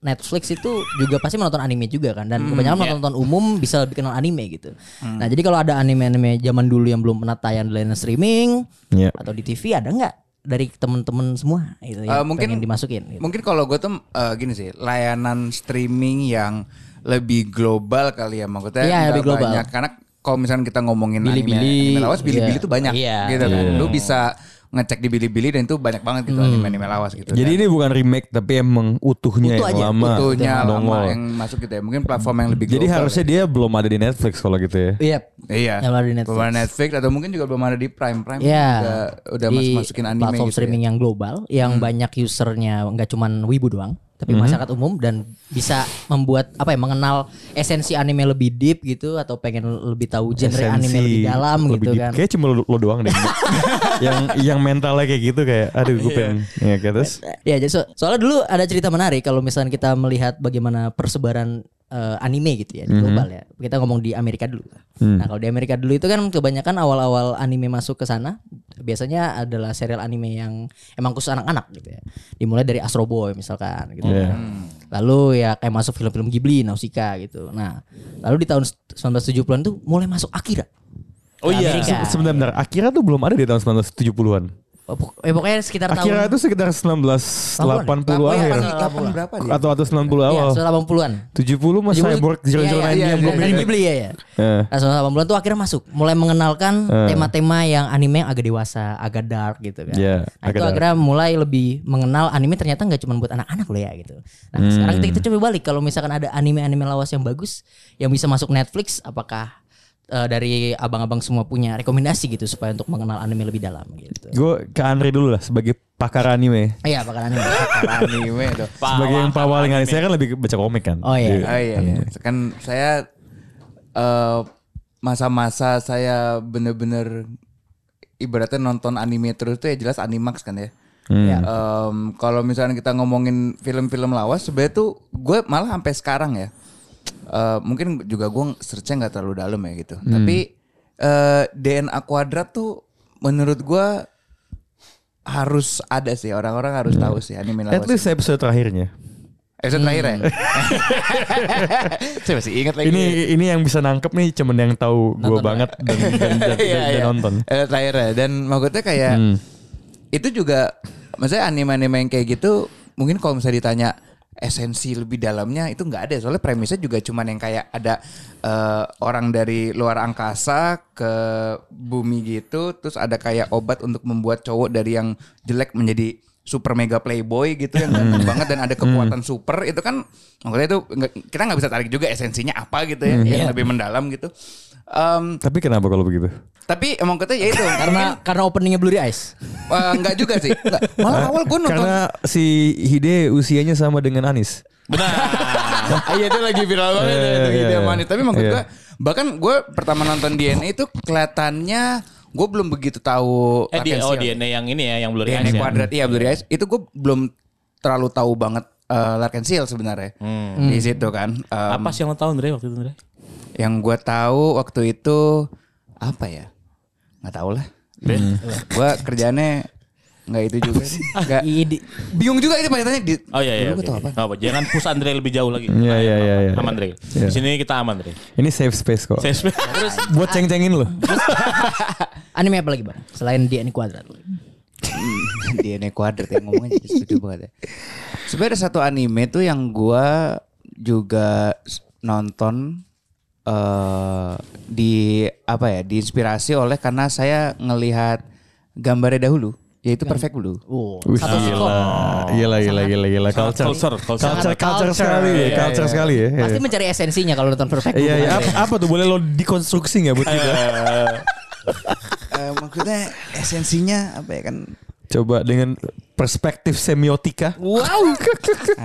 Speaker 4: Netflix itu juga pasti menonton anime juga kan
Speaker 5: Hmm,
Speaker 4: dan
Speaker 5: ya.
Speaker 4: kebanyakan penonton umum bisa lebih kenal anime gitu. Nah jadi kalau ada anime-anime zaman dulu yang belum pernah tayang di layanan streaming
Speaker 2: Iya.
Speaker 4: atau di TV ada nggak dari temen-temen semua itu
Speaker 5: Eh,
Speaker 4: yang
Speaker 5: mungkin-
Speaker 4: pengen dimasukin? Gitu.
Speaker 5: Mungkin kalau gue tuh eh, gini sih, layanan streaming yang lebih global kali ya maksudnya.
Speaker 4: Iya,
Speaker 5: nggak
Speaker 4: lebih global.
Speaker 5: Banyak. Karena kalau misalnya kita ngomongin
Speaker 4: Bilibili.
Speaker 5: anime, anime lawas, Bilibili
Speaker 4: Iya.
Speaker 5: tuh banyak
Speaker 4: Iya.
Speaker 5: gitu kan. Lu bisa ngecek di Bilibili dan itu banyak banget
Speaker 4: Hmm.
Speaker 5: gitu anime-anime lawas gitu.
Speaker 2: Jadi
Speaker 5: Dan
Speaker 2: ini bukan remake tapi emang utuhnya
Speaker 4: Utuh
Speaker 2: yang
Speaker 4: aja,
Speaker 2: lama.
Speaker 5: butuhnya lama
Speaker 2: Nongol.
Speaker 5: yang masuk gitu ya. Mungkin platform yang lebih global.
Speaker 2: Jadi harusnya dia belum ada di Netflix kalau gitu ya.
Speaker 4: Iya.
Speaker 5: Iya.
Speaker 4: Yang ada di Netflix.
Speaker 5: Belum ada Netflix atau mungkin juga belum ada di Prime Prime.
Speaker 4: Ya,
Speaker 5: Udah, udah
Speaker 4: di
Speaker 5: masuk-masukin anime
Speaker 4: platform
Speaker 5: gitu. ya. Hmm.
Speaker 4: streaming yang global, yang banyak usernya nggak cuman wibu doang, tapi masyarakat umum dan bisa membuat apa ya mengenal esensi anime lebih deep gitu atau pengen lebih tahu genre anime lebih dalam gitu kan.
Speaker 2: Kayak cuma lo, lo doang deh. yang yang mentalnya kayak gitu kayak aduh
Speaker 4: Iya.
Speaker 2: gue pengen. Ya kayak terus.
Speaker 4: Ya, jadi so- soalnya dulu ada cerita menarik kalau misalnya kita melihat bagaimana persebaran eh, anime gitu ya di global ya. Kita ngomong di Amerika dulu. Nah, kalau di Amerika dulu itu kan kebanyakan awal-awal anime masuk ke sana biasanya adalah serial anime yang emang khusus anak-anak gitu ya. Dimulai dari Astro Boy misalkan gitu.
Speaker 2: Iya.
Speaker 4: Lalu ya kayak masuk film-film Ghibli, Nausicaa gitu. Nah, lalu di tahun 1970-an tuh mulai masuk Akira.
Speaker 3: Oh
Speaker 4: Ke
Speaker 3: iya.
Speaker 4: Amerika.
Speaker 2: Sebentar, bentar. Akira tuh belum ada di tahun 1970-an.
Speaker 4: Oh, pok- eh, pokoknya sekitar
Speaker 2: Akira
Speaker 4: tahun ya,
Speaker 2: itu sekitar 1980 akhir.
Speaker 5: Tahun 80 ya, berapa dia?
Speaker 2: Atau atau 90
Speaker 4: Iya,
Speaker 2: awal.
Speaker 4: 70-an.
Speaker 2: 70 mas
Speaker 4: 70,
Speaker 2: Oh. cyborg zero zero
Speaker 4: iya,
Speaker 2: nine
Speaker 5: iya,
Speaker 2: yang
Speaker 5: iya,
Speaker 2: belum
Speaker 5: iya.
Speaker 4: Dari
Speaker 2: ini.
Speaker 4: Ghibli ya ya.
Speaker 2: Eh.
Speaker 4: Nah, selama 8 bulan tuh akhirnya masuk, mulai mengenalkan tema-tema yang anime yang agak dewasa, agak dark gitu kan.
Speaker 2: Iya,
Speaker 4: nah,
Speaker 2: agak
Speaker 4: itu
Speaker 2: dark.
Speaker 4: akhirnya mulai lebih mengenal anime ternyata nggak cuma buat anak-anak loh ya gitu. Nah,
Speaker 2: Hmm.
Speaker 4: sekarang kita, kita coba balik kalau misalkan ada anime-anime lawas yang bagus yang bisa masuk Netflix, apakah eh, dari abang-abang semua punya rekomendasi gitu supaya untuk mengenal anime lebih dalam gitu.
Speaker 2: Gue ke Andre dulu lah sebagai pakar anime.
Speaker 4: Iya, apakah anime?
Speaker 5: anime tuh.
Speaker 2: Sebagai yang pawaling anime. Saya kan lebih baca komik kan.
Speaker 4: Oh, iya.
Speaker 5: Oh iya, iya. Kan saya eh, masa-masa saya bener-bener ibaratnya nonton anime terus tuh ya jelas Animax kan ya.
Speaker 4: Iya.
Speaker 5: Em, kalau misalnya kita ngomongin film-film lawas sebenarnya tuh gue malah sampai sekarang ya. eh, mungkin juga gue searchnya nggak terlalu dalam ya gitu. Tapi eh, DNA kuadrat tuh menurut gue harus ada sih orang-orang harus tahu sih anime
Speaker 4: iya.
Speaker 5: lawas.
Speaker 2: At least episode terakhirnya.
Speaker 5: Episode terakhir ya. saya masih ingat lagi.
Speaker 2: Ini ini yang bisa nangkep nih cuman yang tahu gue banget dan dan, dan, dan-
Speaker 5: Iya, Hmm.
Speaker 2: dan
Speaker 5: iya.
Speaker 2: nonton.
Speaker 5: Episode terakhir ya. Dan maksudnya kayak itu juga maksudnya anime-anime yang kayak gitu mungkin kalau misalnya ditanya esensi lebih dalamnya itu nggak ada soalnya premisnya juga cuman yang kayak ada eh, orang dari luar angkasa ke bumi gitu terus ada kayak obat untuk membuat cowok dari yang jelek menjadi super mega playboy gitu yang ganteng banget dan ada kekuatan super Hmm. Iya. itu kan maksudnya itu nggak- kita nggak bisa tarik juga esensinya apa gitu ya yang lebih mendalam gitu Em,
Speaker 2: Tapi kenapa kalau begitu?
Speaker 5: tapi emang kata ya itu
Speaker 4: Karena karena openingnya Blurry Eyes.
Speaker 5: Eh, enggak juga sih. Enggak. Malah awal gue nonton.
Speaker 2: Karena si Hide usianya sama dengan Anis.
Speaker 3: Benar.
Speaker 5: Ah, Iya itu lagi viral
Speaker 2: Iya,
Speaker 5: banget ya, itu
Speaker 2: iya,
Speaker 5: ide
Speaker 2: iya.
Speaker 5: manis. Tapi maksud
Speaker 2: Iya.
Speaker 5: gue bahkan gue pertama nonton DNA itu kelihatannya gue belum begitu tahu
Speaker 3: eh, di,
Speaker 5: Laken
Speaker 3: oh
Speaker 5: Seal.
Speaker 3: DNA yang ini ya, yang blurry
Speaker 5: DNA
Speaker 3: eyes ya.
Speaker 5: kuadrat iya Blurry Eyes itu gue belum terlalu tahu banget eh, Larkin Seal sebenarnya
Speaker 2: Hmm.
Speaker 5: di situ kan. Em,
Speaker 3: Apa sih yang lo tahu Andre waktu itu Andre?
Speaker 5: Yang gue tahu waktu itu apa ya? Nggak tahu lah. gue kerjaannya nggak itu juga sih.
Speaker 3: Ah,
Speaker 5: Nggak.
Speaker 3: iya.
Speaker 4: Ide.
Speaker 5: Bingung juga itu tanya di.
Speaker 3: Oh iya iya.
Speaker 5: Dulu gua
Speaker 3: oke.
Speaker 5: tahu apa?
Speaker 3: Nggak apa. Jangan push Andre lebih jauh lagi.
Speaker 2: Iya,
Speaker 3: Aman,
Speaker 2: iya, iya,
Speaker 3: aman.
Speaker 2: iya.
Speaker 3: Aman Andre.
Speaker 2: Iya.
Speaker 3: Di sini kita aman Andre.
Speaker 2: Ini safe space kok.
Speaker 3: Saya terus
Speaker 2: Buat ceng-cengin lo.
Speaker 4: Anime apa lagi bang? Selain DNA Quadrat.
Speaker 5: DNA kuadrat yang ngomongnya jadi setuju banget ya. Sebenarnya ada satu anime tuh yang gua juga s- nonton eh di apa ya diinspirasi oleh karena saya ngelihat gambarnya dahulu yaitu perfect blue.
Speaker 4: Oh,
Speaker 2: Wih,
Speaker 4: satu
Speaker 2: gila.
Speaker 4: sitcom.
Speaker 2: Gila, gila, gila, gila. Culture.
Speaker 3: Culture, culture.
Speaker 2: Culture,
Speaker 4: Sangat
Speaker 2: culture
Speaker 4: culture.
Speaker 2: sekali ya.
Speaker 4: Iya, iya,
Speaker 2: Culture
Speaker 4: iya.
Speaker 2: sekali ya. Iya.
Speaker 4: Pasti mencari esensinya kalau nonton Perfect.
Speaker 2: Iya,
Speaker 4: Blue,
Speaker 2: iya.
Speaker 4: kan?
Speaker 2: Apa, apa tuh? Boleh lo dekonstruksi nggak buat kita?
Speaker 5: Eh, maksudnya esensinya apa ya kan?
Speaker 2: Coba dengan perspektif semiotika.
Speaker 5: Wow.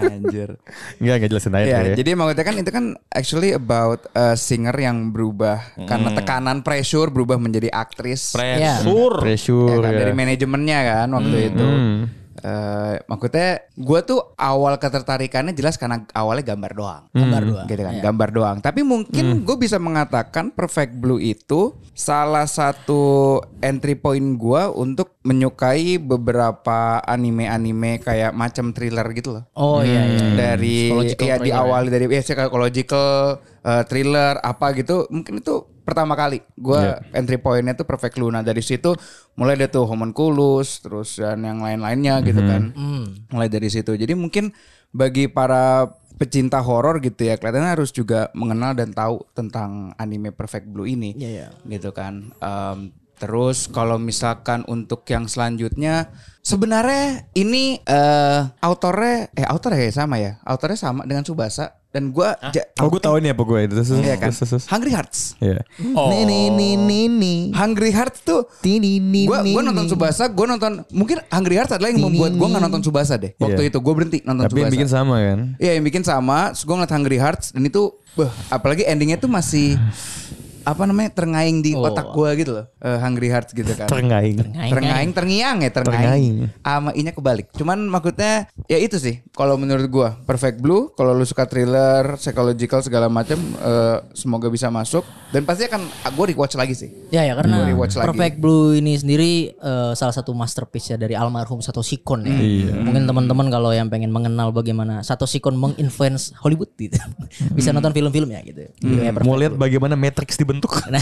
Speaker 5: Anjir.
Speaker 2: Enggak, enggak jelasin aja.
Speaker 5: Ya,
Speaker 2: dulu ya.
Speaker 5: jadi maksudnya kan itu kan actually about a singer yang berubah karena tekanan pressure berubah menjadi aktris.
Speaker 2: Iya.
Speaker 3: Pressure.
Speaker 5: Ya
Speaker 2: pressure
Speaker 5: kan,
Speaker 2: ya.
Speaker 5: dari manajemennya kan waktu itu.
Speaker 2: Hmm.
Speaker 5: Eh, maksudnya gue tuh awal ketertarikannya jelas karena awalnya gambar doang.
Speaker 2: Hmm.
Speaker 4: Gambar doang. Iya.
Speaker 5: Gitu kan, gambar doang. Tapi mungkin gue bisa mengatakan Perfect Blue itu salah satu entry point gue untuk menyukai beberapa anime-anime kayak macam thriller gitu loh.
Speaker 4: Oh iya iya.
Speaker 5: Dari
Speaker 4: Psychological
Speaker 5: ya
Speaker 4: thriller
Speaker 5: diawali dari ya psychological eh, thriller apa gitu. Mungkin itu pertama kali gua entry pointnya tuh Perfect Luna dari situ mulai ada tuh Homunculus terus dan yang lain-lainnya gitu kan.
Speaker 4: Hmm.
Speaker 5: Mulai dari situ. Jadi mungkin bagi para pecinta horor gitu ya kelihatannya harus juga mengenal dan tahu tentang anime Perfect Blue ini
Speaker 4: Iya, iya.
Speaker 5: gitu kan. Em, terus kalau misalkan untuk yang selanjutnya sebenarnya ini eh autornya eh autornya ya sama ya. Autornya sama dengan Subasa dan gua ja-
Speaker 2: Oh, gue tahu ini apa gue itu. Terus,
Speaker 5: Iya kan?
Speaker 2: terus, terus.
Speaker 5: Hungry Hearts.
Speaker 2: Iya.
Speaker 3: Oh.
Speaker 5: Hungry Hearts tuh gua gua nonton Subasa, gua nonton mungkin Hungry Hearts adalah yang membuat gua nggak nonton Subasa deh.
Speaker 2: Iya.
Speaker 5: Waktu itu gua berhenti nonton
Speaker 2: Tapi yang
Speaker 5: Tsubasa.
Speaker 2: bikin sama kan?
Speaker 5: Iya yang bikin sama, terus gue ngeliat Hungry Hearts dan itu, beh, apalagi endingnya tuh masih apa namanya terngayang di
Speaker 4: Oh.
Speaker 5: otak gue gitu loh, eh, Hungry Hearts gitu kan.
Speaker 2: Terengaing.
Speaker 4: Terngaing.
Speaker 5: Terngayang, terngiang ya
Speaker 2: Terngaing.
Speaker 5: terngayang. Ama inya kebalik. Cuman maksudnya ya itu sih. Kalau menurut gue Perfect Blue, kalau lu suka thriller, psychological segala macam, eh, semoga bisa masuk. Dan pasti akan gue rewatch lagi sih.
Speaker 4: Ya ya karena
Speaker 5: Boleh watch lagi.
Speaker 4: Perfect Blue ini sendiri eh, salah satu masterpiece ya dari almarhum Sato Sikon ya.
Speaker 5: Iya.
Speaker 4: Mungkin teman-teman kalau yang pengen mengenal bagaimana Sato Sikon menginfluence Hollywood gitu.
Speaker 5: Hmm.
Speaker 4: Bisa nonton film-filmnya gitu. Gitu ya, Perfect
Speaker 2: Mau lihat
Speaker 4: Blue.
Speaker 2: bagaimana Matrix dibentuk.
Speaker 4: Nah,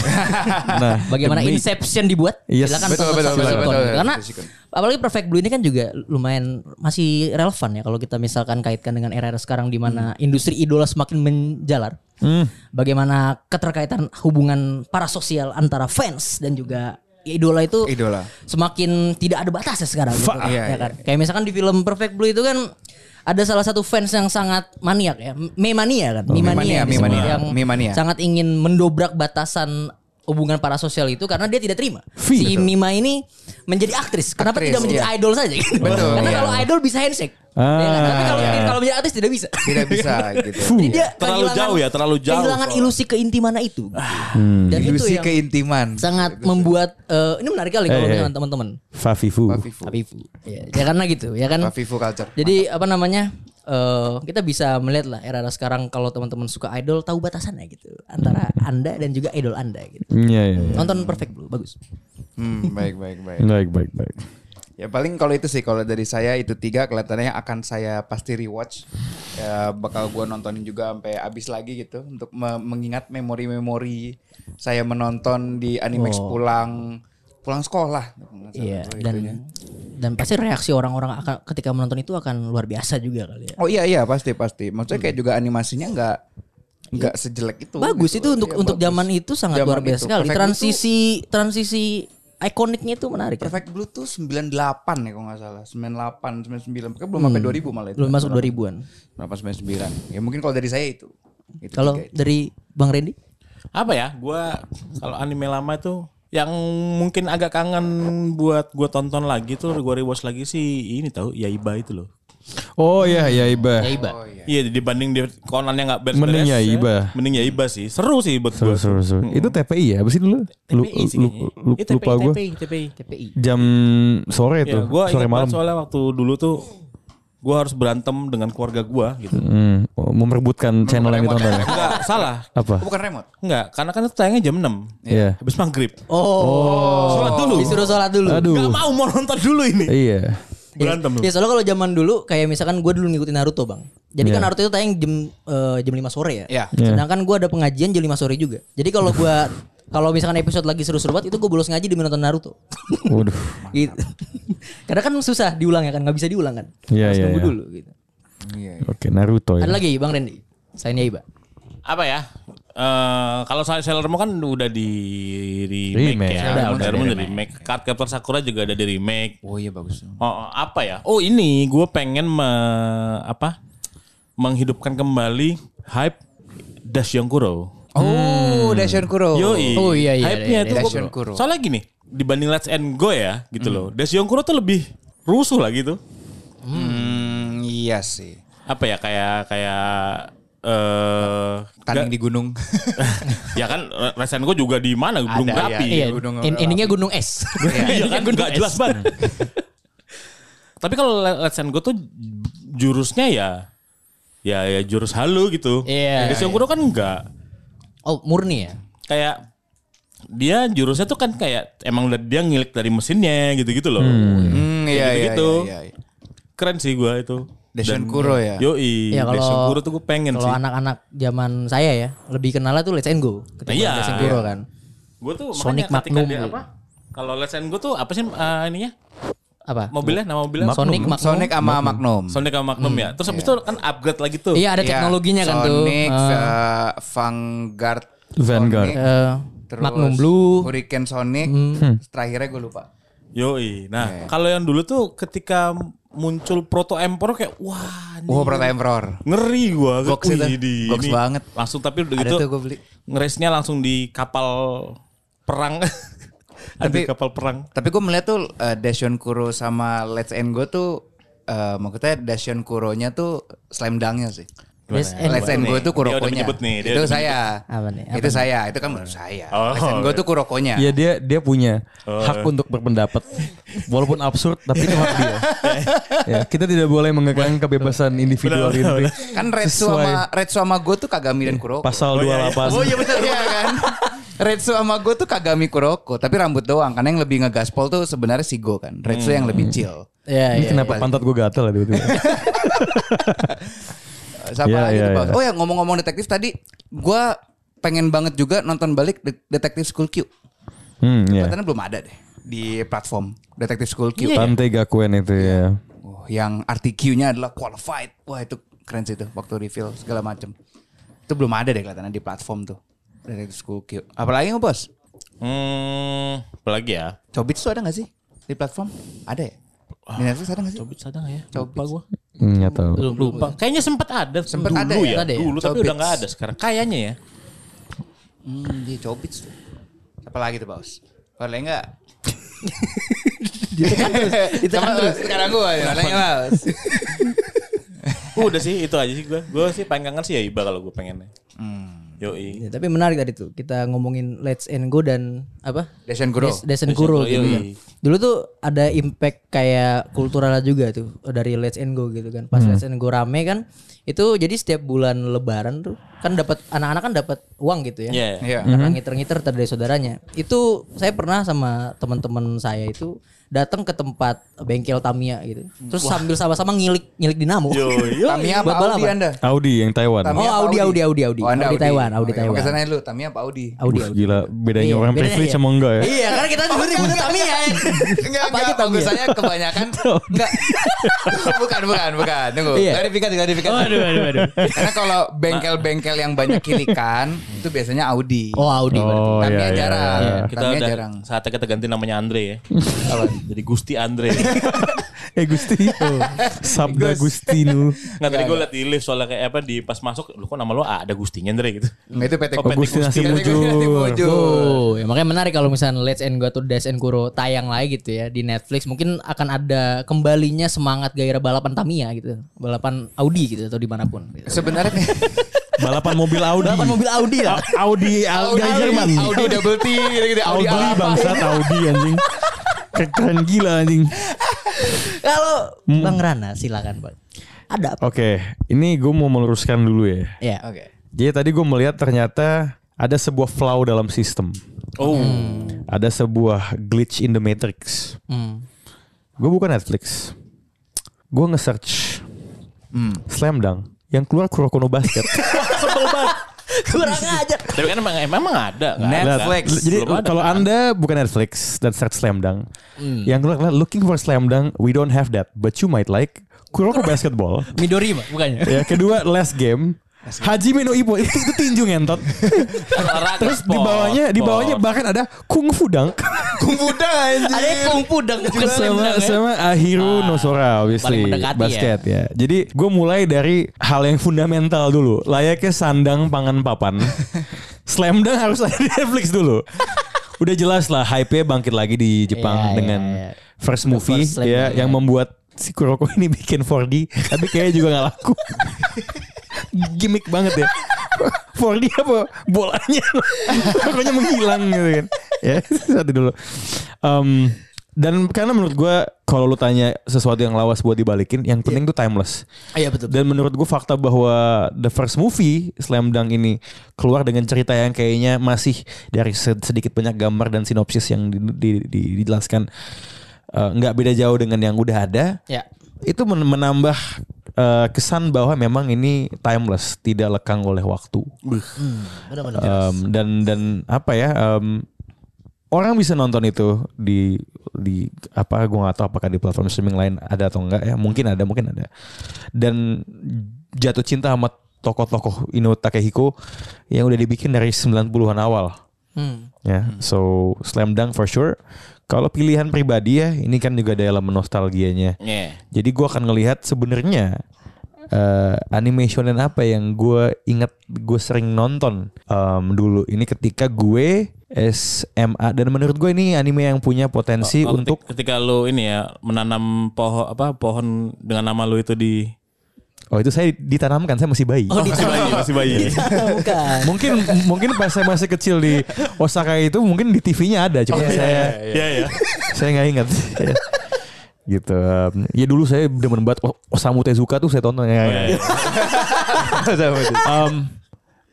Speaker 2: Nah,
Speaker 4: bagaimana
Speaker 2: demi-
Speaker 4: Inception dibuat?
Speaker 2: Yes.
Speaker 4: Silakan
Speaker 5: Betul,
Speaker 4: tonton
Speaker 5: betul,
Speaker 4: Sato
Speaker 5: betul,
Speaker 4: Sikon.
Speaker 5: betul, betul,
Speaker 4: Karena
Speaker 5: Sato Sikon.
Speaker 4: apalagi Perfect Blue ini kan juga lumayan masih relevan ya kalau kita misalkan kaitkan dengan era sekarang di mana
Speaker 5: Hmm.
Speaker 4: industri idola semakin menjalar.
Speaker 2: Hmm.
Speaker 4: bagaimana keterkaitan hubungan parasosial antara fans dan juga ya idola itu
Speaker 5: Idola.
Speaker 4: semakin tidak ada batasnya sekarang gitu.
Speaker 5: Fa- iya,
Speaker 4: ya kan? Kayak misalkan di film Perfect Blue itu kan ada salah satu fans yang sangat maniak ya, memania kan,
Speaker 5: Oh, Memania,
Speaker 4: memania,
Speaker 5: memania,
Speaker 4: yang
Speaker 5: memania.
Speaker 4: sangat ingin mendobrak batasan hubungan parasosial itu karena dia tidak terima
Speaker 2: Fee,
Speaker 4: si
Speaker 5: betul.
Speaker 4: Mima ini menjadi aktris. Kenapa
Speaker 5: Aktris,
Speaker 4: tidak menjadi
Speaker 5: iya.
Speaker 4: idol saja? Gitu.
Speaker 5: Betul,
Speaker 4: Karena
Speaker 5: iya.
Speaker 4: kalau idol bisa handshake, ya kan? tapi kalau
Speaker 5: iya.
Speaker 4: kalau menjadi aktris tidak bisa.
Speaker 5: Tidak bisa gitu.
Speaker 4: Jadi dia
Speaker 3: Terlalu
Speaker 4: kehilangan-
Speaker 3: jauh ya, terlalu jauh
Speaker 4: Kehilangan
Speaker 3: soalnya.
Speaker 4: ilusi keintimannya itu. Dan itu
Speaker 5: Ah. Ilusi
Speaker 4: yang
Speaker 5: keintiman.
Speaker 4: sangat membuat eh, ini menarik kali kalau
Speaker 2: Eh, eh.
Speaker 4: dengan teman-teman.
Speaker 2: Fafifu.
Speaker 5: Fafifu.
Speaker 4: Afifu. Ya, ya karena gitu, ya kan.
Speaker 5: Fafifu culture.
Speaker 4: Jadi apa namanya? eh, kita bisa melihat lah era sekarang kalau teman-teman suka idol tahu batasannya gitu antara Anda dan juga idol Anda gitu.
Speaker 2: Iya, iya. iya.
Speaker 4: Nonton Perfect Blue bagus.
Speaker 5: Hmm, baik baik baik.
Speaker 2: Baik, baik, baik.
Speaker 5: Ya paling kalau itu sih kalau dari saya itu tiga kelihatannya akan saya pasti rewatch. Ya, bakal gua nontonin juga sampai habis lagi gitu untuk me- mengingat memori-memori saya menonton di Animax pulang pulang sekolah.
Speaker 4: Oh. Iya dan dan pasti reaksi orang-orang akan ketika menonton itu akan luar biasa juga kali ya.
Speaker 5: Oh iya iya pasti pasti. Maksudnya kayak juga animasinya nggak nggak sejelek itu.
Speaker 4: Hmm. bagus
Speaker 5: gitu.
Speaker 4: itu untuk
Speaker 5: Iya,
Speaker 4: untuk
Speaker 5: bagus.
Speaker 4: zaman itu sangat
Speaker 5: Zaman
Speaker 4: luar biasa
Speaker 5: itu.
Speaker 4: sekali.
Speaker 5: Perfect Blue
Speaker 4: Transisi transisi ikoniknya itu menarik. ya.
Speaker 5: Perfect Blue tuh 98 ya kalau nggak salah. 98, 99. Pokoknya belum sampai 2000 malah itu.
Speaker 4: Hmm. Belum masuk 2000-an.
Speaker 5: Nah, 98, 99. Ya mungkin kalau dari saya itu. Itu
Speaker 4: Kalau
Speaker 5: tiga itu.
Speaker 4: dari Bang Randy?
Speaker 3: apa ya gua kalau anime lama tuh yang mungkin agak kangen buat gua tonton lagi tuh gua rewatch lagi sih ini tahu Yaiba itu loh
Speaker 2: Oh iya Yaiba.
Speaker 4: Yaiba.
Speaker 3: iya dibanding dia konannya nggak beres
Speaker 2: Mending Yaiba.
Speaker 3: mending Yaiba sih seru sih buat
Speaker 2: Seru,
Speaker 3: gua
Speaker 2: seru, seru. Itu TPI ya? Apa sih dulu? Lu,
Speaker 3: TPI sih
Speaker 2: lu-
Speaker 3: kayaknya.
Speaker 2: lu-
Speaker 3: Eh, TPI,
Speaker 2: lupa gue.
Speaker 3: TPI, TPI.
Speaker 4: TPI.
Speaker 2: Jam sore
Speaker 3: Ya,
Speaker 2: tuh.
Speaker 3: gua
Speaker 2: sore
Speaker 3: ingat banget
Speaker 2: malam.
Speaker 3: soalnya waktu dulu tuh gua harus berantem dengan keluarga gua gitu.
Speaker 2: Hmm, oh, memerebutkan channel yang ditonton ya?
Speaker 3: Enggak, salah.
Speaker 2: Apa?
Speaker 5: Oh, bukan remote.
Speaker 3: Enggak, karena kan itu tayangnya jam 6.
Speaker 2: Iya.
Speaker 3: Habis maghrib.
Speaker 4: Oh. Sholat dulu. Disuruh sholat dulu.
Speaker 2: Aduh.
Speaker 3: Enggak mau mau nonton dulu ini.
Speaker 2: Iya.
Speaker 3: Berantem.
Speaker 4: Ya soalnya kalau zaman dulu kayak misalkan gue dulu ngikutin Naruto bang. Jadi kan
Speaker 2: Iya.
Speaker 4: Naruto itu tayang jam eh, jam 5 sore ya.
Speaker 5: Iya.
Speaker 2: Iya.
Speaker 4: Sedangkan gue ada pengajian jam 5 sore juga. Jadi kalau gue kalau misalkan episode lagi seru-seru banget itu gue bolos ngaji demi nonton Naruto.
Speaker 2: Waduh.
Speaker 4: gitu. Karena kan susah diulang ya kan nggak bisa diulang kan.
Speaker 2: Iya,
Speaker 4: Harus
Speaker 2: iya,
Speaker 4: nunggu
Speaker 2: iya.
Speaker 4: dulu gitu.
Speaker 5: Iya.
Speaker 2: Oke, Naruto ya.
Speaker 4: Ada lagi Bang Randy. Saya ya, Iba.
Speaker 3: Apa ya? Eh kalau saya Sailor Moon kan udah di remake,
Speaker 2: Remake.
Speaker 3: ya.
Speaker 2: Sailor
Speaker 3: Sailor Moon, udah di remake. Card Captor Sakura juga ada di remake.
Speaker 5: Oh iya bagus. tuh.
Speaker 3: Oh, oh, apa ya? Oh ini gue pengen me- apa? Menghidupkan kembali hype Dash Kuro.
Speaker 5: Oh,
Speaker 4: Hmm.
Speaker 5: Dashion Kuro.
Speaker 3: Yoi.
Speaker 4: Oh, iya, iya,
Speaker 3: Hype-nya
Speaker 4: iya,
Speaker 3: itu
Speaker 5: iya.
Speaker 3: gua-
Speaker 5: Dashion Kuro.
Speaker 3: Soalnya gini, dibanding Let's End Go ya gitu loh. Dashion Kuro tuh lebih rusuh lah gitu.
Speaker 5: Hmm, iya sih.
Speaker 3: Apa ya kayak kayak eh
Speaker 5: Tanding
Speaker 3: nggak-
Speaker 5: di gunung.
Speaker 3: ya kan Let's End Go juga di mana? Gunung
Speaker 5: Ada,
Speaker 3: Berapi. gitu
Speaker 5: Iya,
Speaker 4: Iya.
Speaker 5: Gunung
Speaker 4: en- endingnya Gunung Es.
Speaker 3: Iya kan
Speaker 4: Gunung
Speaker 3: nggak jelas banget. Tapi kalau Let's End Go tuh jurusnya ya ya ya jurus halu gitu.
Speaker 4: Iya,
Speaker 3: Dashion Kuro kan enggak.
Speaker 4: Oh murni ya.
Speaker 3: kayak dia jurusnya tuh kan kayak emang dia ngilik dari mesinnya gitu-gitu loh.
Speaker 5: Hmm, iya,
Speaker 3: Kayak
Speaker 5: iya,
Speaker 3: gitu.
Speaker 5: iya, iya.
Speaker 3: Keren sih gua itu.
Speaker 5: Dashion Kuro ya.
Speaker 3: Yoi,
Speaker 4: Ya, kalau-
Speaker 3: Desen Kuro tuh gue pengen
Speaker 4: Kalau
Speaker 3: sih.
Speaker 4: anak-anak zaman saya ya lebih kenalnya tuh Let's and Go ketimbang
Speaker 3: Iya.
Speaker 4: Let's and Go
Speaker 3: Iya.
Speaker 4: kan.
Speaker 3: Gue tuh
Speaker 4: Sonic
Speaker 3: makanya ketika
Speaker 4: Magnum
Speaker 3: dia
Speaker 4: gitu.
Speaker 3: apa? Kalau Let's End Go tuh apa sih eh, ininya?
Speaker 4: Apa?
Speaker 3: Mobilnya nama mobilnya
Speaker 4: Sonic Magnum.
Speaker 5: Sonic sama Magnum.
Speaker 3: Sonic sama Magnum ya. Terus habis itu kan upgrade lagi tuh.
Speaker 4: Iya ada teknologinya kan tuh.
Speaker 5: Sonic,
Speaker 4: Eh,
Speaker 5: eh, Vanguard,
Speaker 2: Vanguard.
Speaker 5: Sonic,
Speaker 4: eh,
Speaker 5: terus
Speaker 4: Magnum Blue. Iya, Hmm.
Speaker 5: Hurricane Sonic. Terakhirnya gue lupa.
Speaker 3: Yoi.
Speaker 5: Iya,
Speaker 3: Nah, kalau yang dulu tuh ketika muncul Proto Emperor kayak wah ini
Speaker 5: Wow,
Speaker 4: Iya.
Speaker 5: Proto Emperor.
Speaker 3: ngeri gua.
Speaker 5: Goks itu.
Speaker 3: Wih, di-
Speaker 5: Goks
Speaker 3: ini.
Speaker 5: banget.
Speaker 3: Langsung tapi udah
Speaker 5: Ada
Speaker 3: gitu.
Speaker 5: tuh gue beli.
Speaker 3: ngeresnya langsung di kapal perang. Ada
Speaker 5: Tapi-
Speaker 3: di kapal perang.
Speaker 5: Tapi gue melihat tuh eh, Dashion Kuro sama Let's End Go tuh eh maksudnya Dashion Kuronya tuh slam dunk-nya sih.
Speaker 4: Let's and
Speaker 5: Let's End
Speaker 3: Nih,
Speaker 5: Go tuh
Speaker 3: dia udah
Speaker 5: Kurokonya.
Speaker 3: menyebut nih, dia
Speaker 5: Itu
Speaker 3: udah
Speaker 5: saya.
Speaker 4: Apa nih? Apa
Speaker 5: Itu saya. Itu kan menurut saya.
Speaker 3: Oh,
Speaker 5: Let's End Go tuh Kurokonya.
Speaker 2: Iya dia dia punya hak untuk berpendapat walaupun absurd tapi itu hak dia. ya, kita tidak boleh mengekang kebebasan individual ini.
Speaker 5: Kan Retsu sama Retsu sama Go tuh Kagami dan Kuroko.
Speaker 2: pasal
Speaker 3: Oh, iya, iya.
Speaker 2: 28.
Speaker 5: Oh iya benar iya kan. Retsu sama Go tuh Kagami Kuroko, tapi rambut doang. Karena yang lebih ngegaspol tuh sebenarnya si Go kan. Retsu yang
Speaker 3: Hmm.
Speaker 5: lebih chill.
Speaker 4: Iya,
Speaker 2: Ini
Speaker 4: iya.
Speaker 2: kenapa pantat gue gatel ya tiba-tiba?
Speaker 5: Siapa
Speaker 2: Iya,
Speaker 5: lagi
Speaker 2: iya,
Speaker 5: tuh, Bang?
Speaker 2: iya.
Speaker 5: Oh ya ngomong-ngomong detektif tadi, gua pengen banget juga nonton balik Det- Detektif School Q.
Speaker 2: Hmm, iya.
Speaker 5: Katanya belum ada deh di platform Detektif School
Speaker 4: ya?
Speaker 5: Q.
Speaker 2: Tante Gakuen itu
Speaker 4: Iya.
Speaker 2: ya.
Speaker 5: Oh, yang RTQ-nya adalah qualified. Wah, itu keren sih tuh waktu reveal segala macam. Itu belum ada deh kelihatannya di platform tuh. Detektif School Q. Apalagi nggak, Bos?
Speaker 3: Hmm, apalagi ya?
Speaker 5: Cobits tuh ada gak sih di platform? Ada ya? Di Netflix ada gak sih?
Speaker 3: Cobit ada nggak ya?
Speaker 5: Cobits.
Speaker 3: Lupa gua.
Speaker 2: Enggak Hmm, tahu.
Speaker 3: Belum lupa. Kayaknya sempat ada
Speaker 5: Sempet
Speaker 3: dulu
Speaker 5: ada ya?
Speaker 3: ya.
Speaker 4: Ada ya?
Speaker 3: Dulu tapi
Speaker 5: Cobits.
Speaker 3: udah nggak ada sekarang. Kayaknya ya.
Speaker 5: Hmm, di Cobits tuh. Apalagi tuh, Bos? Boleh gak? Sama sekarang gue ya. Boleh nggak, Bos?
Speaker 3: udah sih itu aja sih gua. Gua sih paling kangen sih ya Iba kalau gua pengennya. Yoi.
Speaker 5: Hmm.
Speaker 4: Ya, tapi menarik tadi tuh kita ngomongin Let's and Go dan apa?
Speaker 5: Dashian Kuro.
Speaker 4: Des- Desen Kuro
Speaker 3: Kuro,
Speaker 4: gitu.
Speaker 3: yoi.
Speaker 4: kan. Dulu tuh ada impact kayak kulturalnya juga tuh dari Let's and Go gitu kan.
Speaker 3: Hmm.
Speaker 4: Pas Let's and Go rame kan itu jadi setiap bulan lebaran tuh kan dapat anak-anak kan dapat uang gitu ya.
Speaker 3: Iya.
Speaker 5: Iya.
Speaker 4: Karena ngiter-ngiter dari saudaranya. Itu saya pernah sama teman-teman saya itu datang ke tempat bengkel Tamiya gitu. Terus sambil sama-sama ngilik-ngilik dinamo.
Speaker 3: Yoi.
Speaker 5: Tamiya apa
Speaker 4: Buat
Speaker 5: Audi
Speaker 4: balapan.
Speaker 5: Anda?
Speaker 2: Audi yang Taiwan.
Speaker 5: Tamiya
Speaker 4: Oh,
Speaker 5: apa
Speaker 4: Audi, Audi, Audi, Audi.
Speaker 5: Oh, Anda
Speaker 4: Audi Taiwan, Audi
Speaker 5: Oke,
Speaker 4: Taiwan.
Speaker 5: Oke, sana dulu. Tamiya apa Audi?
Speaker 4: Audi,
Speaker 2: Wah,
Speaker 4: Audi.
Speaker 2: gila bedanya
Speaker 4: Iya,
Speaker 2: orang
Speaker 4: bedanya
Speaker 2: privilege
Speaker 4: ya.
Speaker 2: sama enggak ya?
Speaker 4: Iya, karena kita dulu ya. ribut Tamiya.
Speaker 5: Oh, Enggak,
Speaker 4: Apa
Speaker 5: enggak.
Speaker 4: aja Tamiya?
Speaker 5: Bagusannya kebanyakan. Enggak. bukan, bukan, bukan. Tunggu.
Speaker 4: Iya.
Speaker 5: Klarifikasi, klarifikasi.
Speaker 4: Aduh, aduh, aduh.
Speaker 5: Karena kalau bengkel-bengkel yang banyak kilikan, itu biasanya Audi.
Speaker 4: Oh, Audi.
Speaker 2: Oh
Speaker 5: Tamiya
Speaker 2: iya iya.
Speaker 5: jarang.
Speaker 2: iya.
Speaker 3: Kita
Speaker 5: Tamiya
Speaker 3: udah
Speaker 5: jarang.
Speaker 3: saatnya kita ganti namanya Andre ya.
Speaker 5: Kalau-
Speaker 3: Jadi Gusti Andre.
Speaker 2: Eh Gusti.
Speaker 4: Iya.
Speaker 2: Sabda Gustinu.
Speaker 3: Nggak tadi gue liat di lift soalnya kayak apa di pas masuk lu kok nama lu A, ada Gustinya Andre gitu.
Speaker 5: Nah, itu PT
Speaker 3: Oh,
Speaker 5: Gusti.
Speaker 2: Gusti nasi
Speaker 5: PT Gusti Nasi
Speaker 2: mujur.
Speaker 5: Mujur.
Speaker 4: Oh, ya makanya menarik kalau misalnya Let's and Go to Dash and Kuro tayang lagi gitu ya di Netflix mungkin akan ada kembalinya semangat gairah balapan Tamiya gitu, balapan Audi gitu atau dimanapun. Gitu.
Speaker 5: Sebenarnya
Speaker 2: Balapan mobil Audi.
Speaker 4: Balapan mobil Audi lah.
Speaker 2: Audi Audi Jerman.
Speaker 5: Audi double T gitu-gitu.
Speaker 2: Audi
Speaker 5: Audi apa?
Speaker 2: bangsa Audi anjing. Keren gila anjing.
Speaker 4: Kalau Bang Rana silakan Bang. Ada apa?
Speaker 2: Oke, ini gue mau meluruskan dulu ya.
Speaker 4: Ya.
Speaker 5: Oke.
Speaker 2: Jadi tadi gue melihat ternyata ada sebuah flaw dalam sistem.
Speaker 3: Oh.
Speaker 2: Ada sebuah glitch in the matrix.
Speaker 4: Hmm.
Speaker 2: Gue buka Netflix. Gue nge-search Slam Dunk yang keluar Kuroko no Basket.
Speaker 4: Kurang aja.
Speaker 3: Tapi kan emang, emang ada kan?
Speaker 5: Netflix.
Speaker 3: Ada.
Speaker 2: Jadi
Speaker 3: Belum ada. Hmm.
Speaker 2: kalau Anda bukan Netflix dan search Slam Dunk, yang keluar adalah looking for Slam Dunk, we don't have that, but you might like Kuroko Basketball.
Speaker 4: Midori Bang, bukannya.
Speaker 2: ya, kedua Last Game. Hajime no Ippo itu, itu tinju ngentot.
Speaker 3: Olahraga,
Speaker 2: Terus di
Speaker 3: sport,
Speaker 2: bawahnya di bawahnya
Speaker 3: sport.
Speaker 2: bahkan ada Kung Fu Dunk.
Speaker 5: Kumbuda anjir.
Speaker 4: Ada yang kungfu dan bukan
Speaker 2: sama
Speaker 4: slam dunk ya.
Speaker 2: sama Ah, Ahiru Nosora obviously
Speaker 4: paling mendekati
Speaker 2: basket ya. Jadi gue mulai dari hal yang fundamental dulu. Layaknya sandang pangan papan. Slam dunk harus ada di Netflix dulu. Udah jelas lah hype-nya bangkit lagi di Jepang
Speaker 4: Iya,
Speaker 2: dengan
Speaker 4: iya, iya.
Speaker 2: first movie
Speaker 4: first Slam
Speaker 2: ya
Speaker 4: Dunk,
Speaker 2: yang
Speaker 4: iya.
Speaker 2: membuat si Kuroko ini bikin 4D tapi kayaknya juga nggak laku. Gimik banget ya. 4D apa bolanya pokoknya menghilang gitu kan ya satu dulu Em, dan karena menurut gua kalau lu tanya sesuatu yang lawas buat dibalikin yang penting tuh timeless
Speaker 4: Ah, Iya betul.
Speaker 2: dan menurut gue fakta bahwa the first movie Slam Dunk ini keluar dengan cerita yang kayaknya masih dari se- sedikit banyak gambar dan sinopsis yang di- di- di- dijelaskan eh, nggak beda jauh dengan yang udah ada
Speaker 4: Ya.
Speaker 2: itu men- menambah eh, kesan bahwa memang ini timeless tidak lekang oleh waktu
Speaker 4: Benar-benar.
Speaker 2: Um, dan dan apa ya um, orang bisa nonton itu di di apa gue nggak tahu apakah di platform streaming lain ada atau enggak ya mungkin ada mungkin ada dan jatuh cinta sama tokoh-tokoh Ino Takehiko yang udah dibikin dari 90-an awal
Speaker 4: Hmm.
Speaker 2: ya so slam dunk for sure kalau pilihan pribadi ya ini kan juga ada elemen nostalgianya
Speaker 3: Iya.
Speaker 2: jadi gue akan ngelihat sebenarnya eh anime shonen apa yang gue ingat gue sering nonton em, dulu. Ini ketika gue SMA dan menurut gue ini anime yang punya potensi
Speaker 3: Kalau
Speaker 2: untuk
Speaker 3: ketika- ketika lu ini ya menanam pohon apa pohon dengan nama lu itu di
Speaker 2: oh itu saya ditanamkan saya masih bayi.
Speaker 4: Oh,
Speaker 3: masih bayi masih bayi. ya?
Speaker 4: bukan.
Speaker 2: mungkin mungkin pas saya masih kecil di Osaka itu mungkin di TV-nya ada cuma saya
Speaker 3: Iya ya.
Speaker 2: saya nggak ingat. gitu. em, ya dulu saya demen banget O- Osamu Tezuka tuh saya tonton. Ya, ya, ya. um,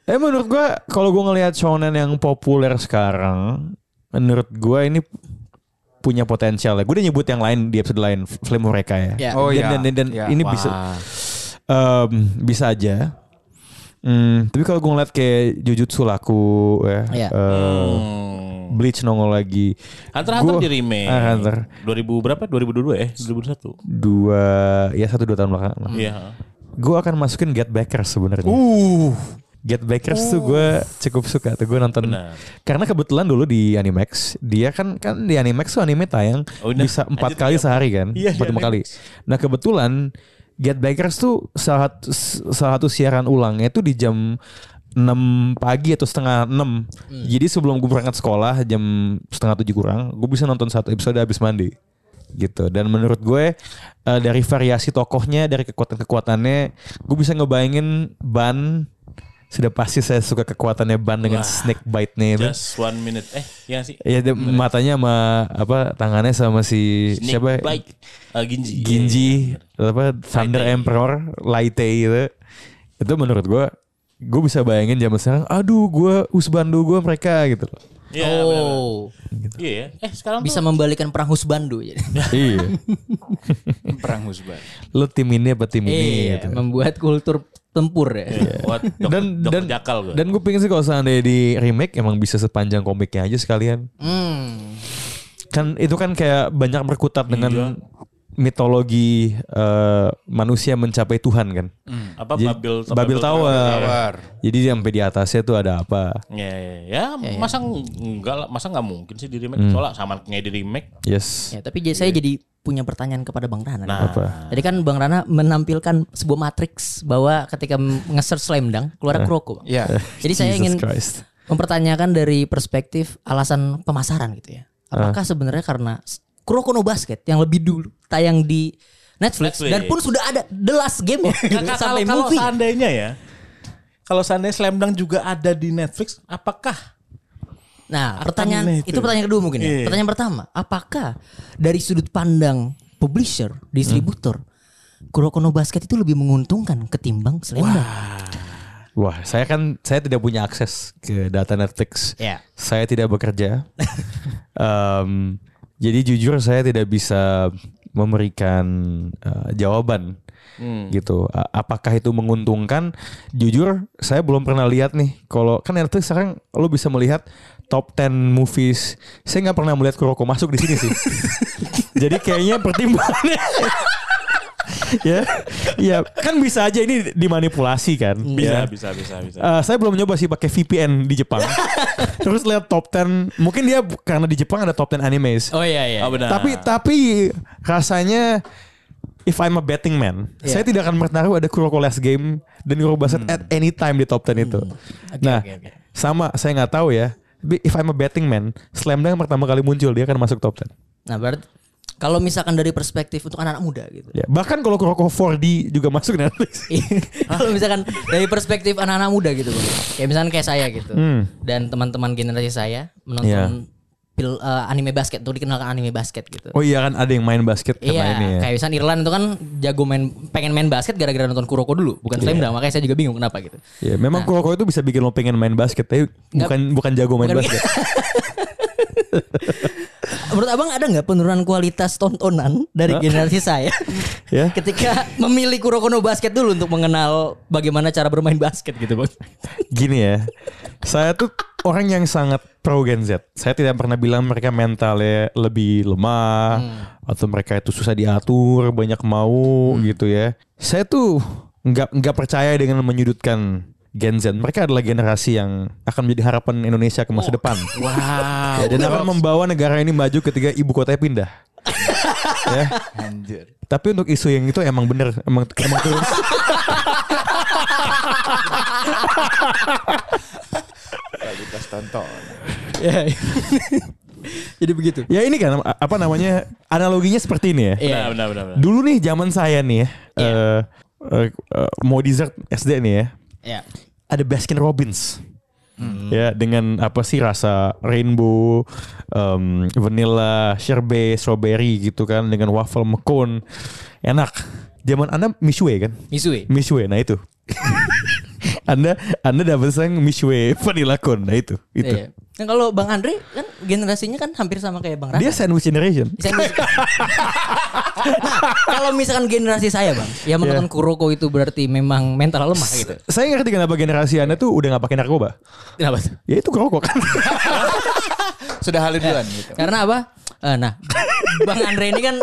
Speaker 2: eh menurut gue kalau gue ngelihat shonen yang populer sekarang, menurut gue ini punya potensial. Gue udah nyebut yang lain di episode lain, Flame mereka ya.
Speaker 4: Ya.
Speaker 5: Oh,
Speaker 2: dan,
Speaker 5: iya.
Speaker 2: dan, dan, dan
Speaker 5: Iya.
Speaker 2: ini bisa um, bisa aja. Hmm, tapi kalau gue ngeliat kayak Jujutsu laku, ya,
Speaker 4: Iya.
Speaker 2: eh, Bleach nongol lagi.
Speaker 3: Hmm. Hunter Hunter
Speaker 2: Gua-
Speaker 3: di remake.
Speaker 2: Ah, Hunter.
Speaker 3: 2000 berapa? 2002 eh 2001.
Speaker 2: Dua, ya satu dua tahun belakangan.
Speaker 3: Iya.
Speaker 2: Gue akan masukin Get Backers sebenarnya.
Speaker 3: Uh.
Speaker 2: Get Backers tuh gue cukup suka tuh gue nonton. Karena kebetulan dulu di Animax, dia kan kan di Animax tuh anime tayang
Speaker 3: Oh, udah.
Speaker 2: bisa empat
Speaker 3: Lanjut,
Speaker 2: kali sehari kan,
Speaker 3: Iya, di
Speaker 2: empat lima kali. Nah kebetulan Get Backers tuh salah satu, salah satu siaran ulangnya tuh di jam 6 pagi atau setengah 6
Speaker 3: Hmm.
Speaker 2: Jadi sebelum gue berangkat sekolah jam setengah 7 kurang Gue bisa nonton satu episode habis mandi gitu dan menurut gue eh, dari variasi tokohnya dari kekuatan kekuatannya gue bisa ngebayangin ban sudah pasti saya suka kekuatannya ban dengan snake bite-nya itu
Speaker 3: Just one minute. Eh, iya nggak sih.
Speaker 2: ya dia- matanya sama apa tangannya sama si
Speaker 3: Snake
Speaker 2: siapa
Speaker 3: bite. Eh, Ginji.
Speaker 2: Ginji apa Thunder Emperor Light gitu itu menurut gue gue bisa bayangin zaman sekarang aduh gue usbandu gue mereka gitu loh
Speaker 3: Iya. benar-benar.
Speaker 4: Oh,
Speaker 2: gitu.
Speaker 3: Iya. ya. Eh, sekarang
Speaker 4: bisa membalikan perang Husbandu. jadi.
Speaker 2: iya
Speaker 5: Perang Husban.
Speaker 2: lo tim ini apa tim ini
Speaker 4: Iya,
Speaker 2: gitu.
Speaker 4: membuat kultur tempur ya.
Speaker 3: tuh, what, dok,
Speaker 2: Iya. dan
Speaker 3: dok
Speaker 2: dan
Speaker 3: jakal gue.
Speaker 2: dan gue pengen sih kalau seandainya di remake emang bisa sepanjang komiknya aja sekalian
Speaker 4: Hmm.
Speaker 2: kan itu kan kayak banyak berkutat dengan mitologi eh, manusia mencapai Tuhan kan.
Speaker 3: Apa
Speaker 2: Jadi,
Speaker 3: Hmm, Babil
Speaker 2: Babil eh. Tower.
Speaker 5: Tower.
Speaker 2: Jadi sampai di atasnya tuh ada apa?
Speaker 3: Ya, ya, ya,
Speaker 4: Iya,
Speaker 3: masa enggak lah, masa enggak mungkin sih di
Speaker 2: Hmm.
Speaker 3: remake soalnya sama kayak di remake.
Speaker 2: Yes.
Speaker 4: Ya, tapi jadi- saya jadi punya pertanyaan kepada Bang
Speaker 3: Iya.
Speaker 4: Rana.
Speaker 3: Nah. Apa?
Speaker 4: Jadi kan Bang Rana menampilkan sebuah matriks bahwa ketika nge-search Slam Dunk keluar Kuroko. Bang.
Speaker 5: Iya.
Speaker 4: Jadi saya
Speaker 2: Eh. Jesus
Speaker 4: ingin
Speaker 2: Christ.
Speaker 4: mempertanyakan dari perspektif alasan pemasaran gitu ya.
Speaker 2: Eh.
Speaker 4: Apakah sebenarnya karena s- Kuroko no Basket yang lebih dulu tayang di Netflix,
Speaker 3: Netflix. Oh.
Speaker 4: dan pun sudah ada the last game ya,
Speaker 3: Kakak,
Speaker 4: sampai
Speaker 3: kalau,
Speaker 4: movie.
Speaker 3: kalau seandainya ya, kalau seandainya Slam Dunk juga ada di Netflix, apakah
Speaker 4: Nah,
Speaker 3: Apa
Speaker 4: pertanyaan
Speaker 3: nih
Speaker 4: itu?
Speaker 3: itu?
Speaker 4: pertanyaan kedua mungkin ya.
Speaker 3: Iya.
Speaker 4: Pertanyaan pertama, apakah dari sudut pandang publisher, distributor, Kuroko no Basket itu lebih menguntungkan ketimbang Slam Dunk?
Speaker 2: Wah, saya kan saya tidak punya akses ke data Netflix.
Speaker 4: Ya.
Speaker 2: Saya tidak bekerja. Em, jadi jujur saya tidak bisa memberikan eh, jawaban gitu. A- Apakah itu menguntungkan? Jujur saya belum pernah lihat nih. Kalau kan Netflix sekarang lo bisa melihat top 10 movies. Saya nggak pernah melihat Kuroko masuk di sini sih. jadi kayaknya pertimbangannya ya, ya kan bisa aja ini dimanipulasi kan. Ya.
Speaker 3: bisa, bisa, bisa, bisa.
Speaker 2: Eh, saya belum nyoba sih pakai VPN di Jepang. Terus lihat top 10. Mungkin dia bu- karena di Jepang ada top 10 animes.
Speaker 4: Oh iya iya.
Speaker 3: Oh, benar.
Speaker 2: Tapi tapi rasanya if I'm a betting man,
Speaker 4: Iya.
Speaker 2: saya tidak akan bertaruh ada Kuroko Last Game dan Kuroko Basket at any time di top 10 itu. nah,
Speaker 4: Hmm. oke, oke.
Speaker 2: sama saya nggak tahu ya. Tapi If I'm a betting man, Slam Dunk yang pertama kali muncul dia akan masuk top 10.
Speaker 4: Nah, berarti kalau misalkan dari perspektif untuk anak-anak muda gitu.
Speaker 2: Ya, bahkan kalau Kuroko 4D juga masuk Netflix.
Speaker 4: kalau misalkan dari perspektif anak-anak muda gitu, Bang. Kayak misalkan kayak saya gitu. Dan teman-teman generasi saya
Speaker 2: Hmm.
Speaker 4: menonton
Speaker 2: Iya.
Speaker 4: pil- eh, anime basket tuh dikenalkan anime basket gitu.
Speaker 2: Oh iya kan ada yang main basket karena
Speaker 4: Iya,
Speaker 2: ini ya.
Speaker 4: kayak misalnya Irland itu kan jago main pengen main basket gara-gara nonton Kuroko dulu,
Speaker 2: Iya.
Speaker 4: bukan Slam Dunk. Makanya saya juga bingung kenapa gitu.
Speaker 2: Ya, memang Kuroko itu bisa bikin lo pengen main basket, tapi bukan bukan jago main
Speaker 4: bukan-
Speaker 2: basket.
Speaker 4: Menurut Abang ada nggak penurunan kualitas tontonan dari generasi saya?
Speaker 2: Ya.
Speaker 4: Ketika memilih Kuroko no basket dulu untuk mengenal bagaimana cara bermain basket gitu, Bang.
Speaker 2: Gini ya, saya tuh orang yang sangat pro Gen Z. Saya tidak pernah bilang mereka mentalnya lebih lemah atau mereka itu susah diatur, banyak mau gitu ya. Saya tuh nggak nggak percaya dengan menyudutkan Gen Z. Mereka adalah generasi yang akan menjadi harapan Indonesia ke masa depan.
Speaker 3: Wow.
Speaker 2: Ya, dan akan membawa negara ini maju ketika ibu kotanya pindah. ya.
Speaker 5: Anjir.
Speaker 2: Tapi untuk isu yang itu emang bener, emang emang turun.
Speaker 5: Kualitas tonton.
Speaker 4: Iya. Jadi begitu.
Speaker 2: ya ini kan a- apa namanya analoginya seperti ini ya.
Speaker 3: Benar, benar, benar. benar.
Speaker 2: Dulu nih zaman saya nih ya, eh, eh, eh, mau dessert SD nih ya,
Speaker 4: Ya.
Speaker 2: ada Baskin Robbins. Ya dengan apa sih rasa rainbow, em, vanilla, sherbet, strawberry gitu kan dengan waffle mekon. Enak. Zaman Anda Mishwe kan?
Speaker 4: Misui.
Speaker 2: Mishwe, nah itu. anda Anda dapat sang Mishwe vanilla cone, nah itu. Itu.
Speaker 4: Iya. Nah, kalau Bang Andre kan generasinya kan hampir sama kayak Bang Rana.
Speaker 2: Dia sandwich generation.
Speaker 4: Sandwich. nah, kalau misalkan generasi saya bang,
Speaker 2: Iya.
Speaker 4: yang menonton Kuroko itu berarti memang mental lemah gitu.
Speaker 2: Saya ngerti kenapa generasi Anda tuh udah nggak pakai narkoba.
Speaker 4: Kenapa? tuh?
Speaker 2: Ya itu kerokok kan.
Speaker 5: Sudah halu duluan gitu.
Speaker 4: Karena apa? Eh, nah, Bang Andre ini kan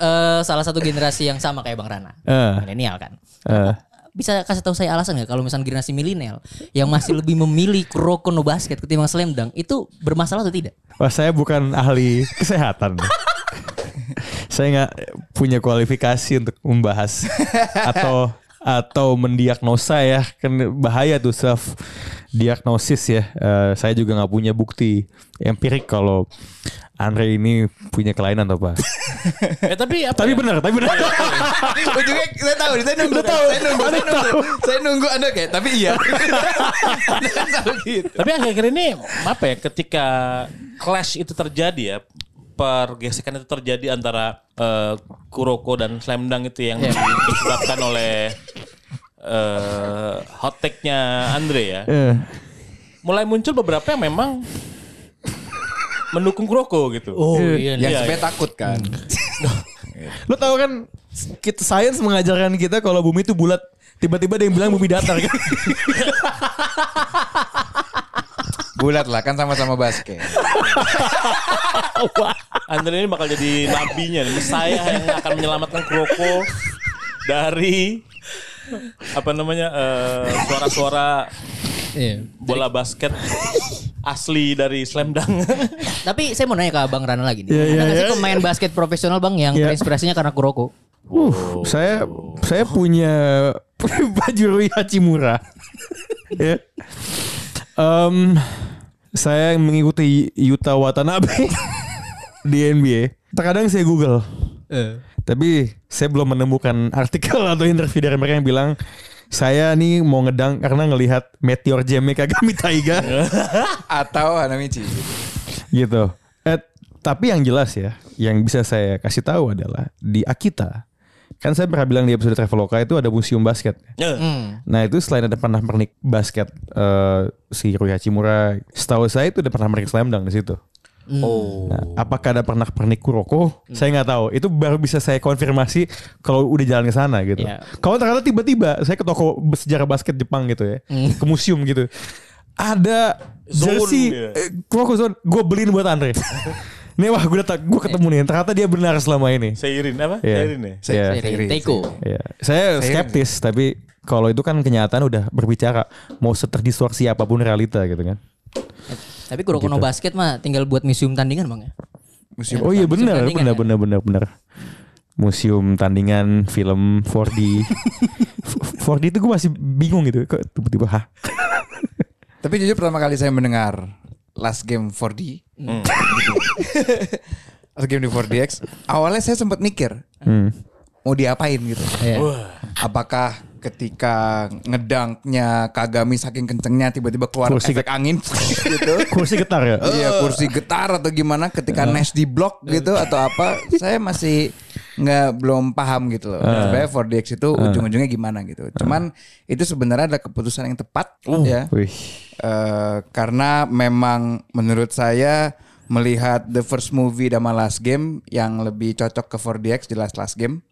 Speaker 4: eh, salah satu generasi yang sama kayak Bang Rana,
Speaker 2: Eh.
Speaker 4: milenial kan.
Speaker 2: Eh,
Speaker 4: Bisa kasih tahu saya alasan nggak kalau misalnya generasi milenial yang masih lebih memilih Kuroko no basket ketimbang slam dunk itu bermasalah atau tidak?
Speaker 2: wah saya bukan ahli kesehatan. saya nggak punya kualifikasi untuk membahas atau atau mendiagnosa ya kan bahaya tuh self diagnosis ya. Eh, saya juga nggak punya bukti empirik kalau Andre ini punya kelainan atau apa.
Speaker 3: Eh, tapi apa?
Speaker 2: tapi
Speaker 3: ya?
Speaker 2: benar, tapi benar.
Speaker 5: Ujungnya saya tahu, saya nunggu, saya nunggu, saya nunggu, saya nunggu Anda kayak, tapi iya. Selalu gitu.
Speaker 3: Tapi akhir-akhir ini apa ya ketika clash itu terjadi ya pergesekan itu terjadi antara eh, Kuroko dan Slam Dunk itu yang disebabkan oleh eh hot take-nya Andre ya.
Speaker 2: Eh,
Speaker 3: Mulai muncul beberapa yang memang mendukung Kuroko gitu.
Speaker 4: Oh
Speaker 5: Yang
Speaker 3: Iya,
Speaker 5: sebenarnya
Speaker 3: iya.
Speaker 5: takut kan.
Speaker 2: Lo tau kan kita sains mengajarkan kita kalau bumi itu bulat. Tiba-tiba ada yang bilang bumi datar kan.
Speaker 5: Bulat lah kan sama-sama basket.
Speaker 3: Oh, Andre ini bakal jadi nabinya nih. Saya yang akan menyelamatkan Kuroko dari apa namanya eh, suara-suara
Speaker 1: Iya.
Speaker 3: bola basket asli dari slam dunk.
Speaker 4: Tapi saya mau nanya ke Bang Rana lagi nih.
Speaker 2: Iya, iya,
Speaker 4: Ada nggak sih
Speaker 2: iya.
Speaker 4: pemain basket profesional Bang yang
Speaker 2: Iya.
Speaker 4: terinspirasinya karena Kuroko?
Speaker 2: Uh, saya saya punya baju Rui Hachimura. ya. Em, saya mengikuti Yuta Watanabe di NBA. Terkadang saya Google,
Speaker 1: Eh.
Speaker 2: tapi saya belum menemukan artikel atau interview dari mereka yang bilang saya nih mau ngedang karena ngelihat Meteor Jeme Kagami Taiga
Speaker 5: atau Hanamichi.
Speaker 2: gitu. Eh, tapi yang jelas ya, yang bisa saya kasih tahu adalah di Akita. Kan saya pernah bilang di episode Traveloka itu ada museum basket.
Speaker 3: Ya,
Speaker 2: Nah itu selain ada pernah pernik basket eh, si Rui Hachimura, setahu saya itu ada pernah pernik slam dunk di situ.
Speaker 3: Oh.
Speaker 2: Nah, apakah ada pernah pernik Kuroko? Saya nggak tahu. Itu baru bisa saya konfirmasi kalau udah jalan ke sana gitu.
Speaker 4: Iya.
Speaker 2: Kalau ternyata tiba-tiba saya ke toko sejarah basket Jepang gitu ya, ke museum gitu, ada
Speaker 3: Zone
Speaker 2: jersey
Speaker 3: dia.
Speaker 2: eh, Kuroko Zone, gue beliin buat Andre. Nih wah gue gue ketemu nih. Ternyata dia benar selama ini.
Speaker 3: Seirin apa?
Speaker 2: Iya.
Speaker 3: Seirin ya.
Speaker 2: Iya.
Speaker 4: Dari Teiko.
Speaker 2: Iya, saya skeptis tapi kalau itu kan kenyataan udah berbicara mau seterdistorsi apapun realita gitu kan.
Speaker 4: Tapi Kuroko
Speaker 2: Gitu.
Speaker 4: no basket mah tinggal buat museum tandingan Bang ya.
Speaker 2: oh iya benar,
Speaker 4: tandingan
Speaker 2: benar
Speaker 4: ya?
Speaker 2: benar benar benar. Museum tandingan film 4D. F- 4D itu gue masih bingung gitu. Kok tiba-tiba hah?
Speaker 5: Tapi jujur pertama kali saya mendengar Last Game 4D. gitu. Last Game di 4DX. Awalnya saya sempat mikir
Speaker 2: Hmm.
Speaker 5: mau diapain gitu.
Speaker 1: Iya.
Speaker 5: Apakah ketika ngedangnya Kagami saking kencengnya tiba-tiba keluar
Speaker 2: Kursi
Speaker 5: efek angin gitu.
Speaker 2: Kursi getar ya.
Speaker 5: Iya kursi getar atau gimana
Speaker 2: Iya.
Speaker 5: ketika Nash di blok gitu atau apa saya masih nggak belum paham gitu loh.
Speaker 2: Iya.
Speaker 5: Sebenarnya 4DX itu ujung-ujungnya gimana gitu. Cuman itu sebenarnya ada keputusan yang tepat ya.
Speaker 2: Wih.
Speaker 5: Eh, karena memang menurut saya melihat the first movie sama last game yang lebih cocok ke 4DX jelas last game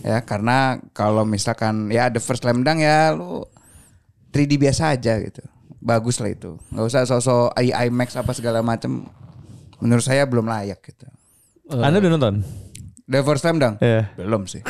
Speaker 5: ya karena kalau misalkan ya the first slam dunk ya lu 3D biasa aja gitu bagus lah itu nggak usah sosok AI IMAX apa segala macem menurut saya belum layak gitu
Speaker 2: Anda udah nonton?
Speaker 5: the first slam dunk
Speaker 2: Iya.
Speaker 5: belum sih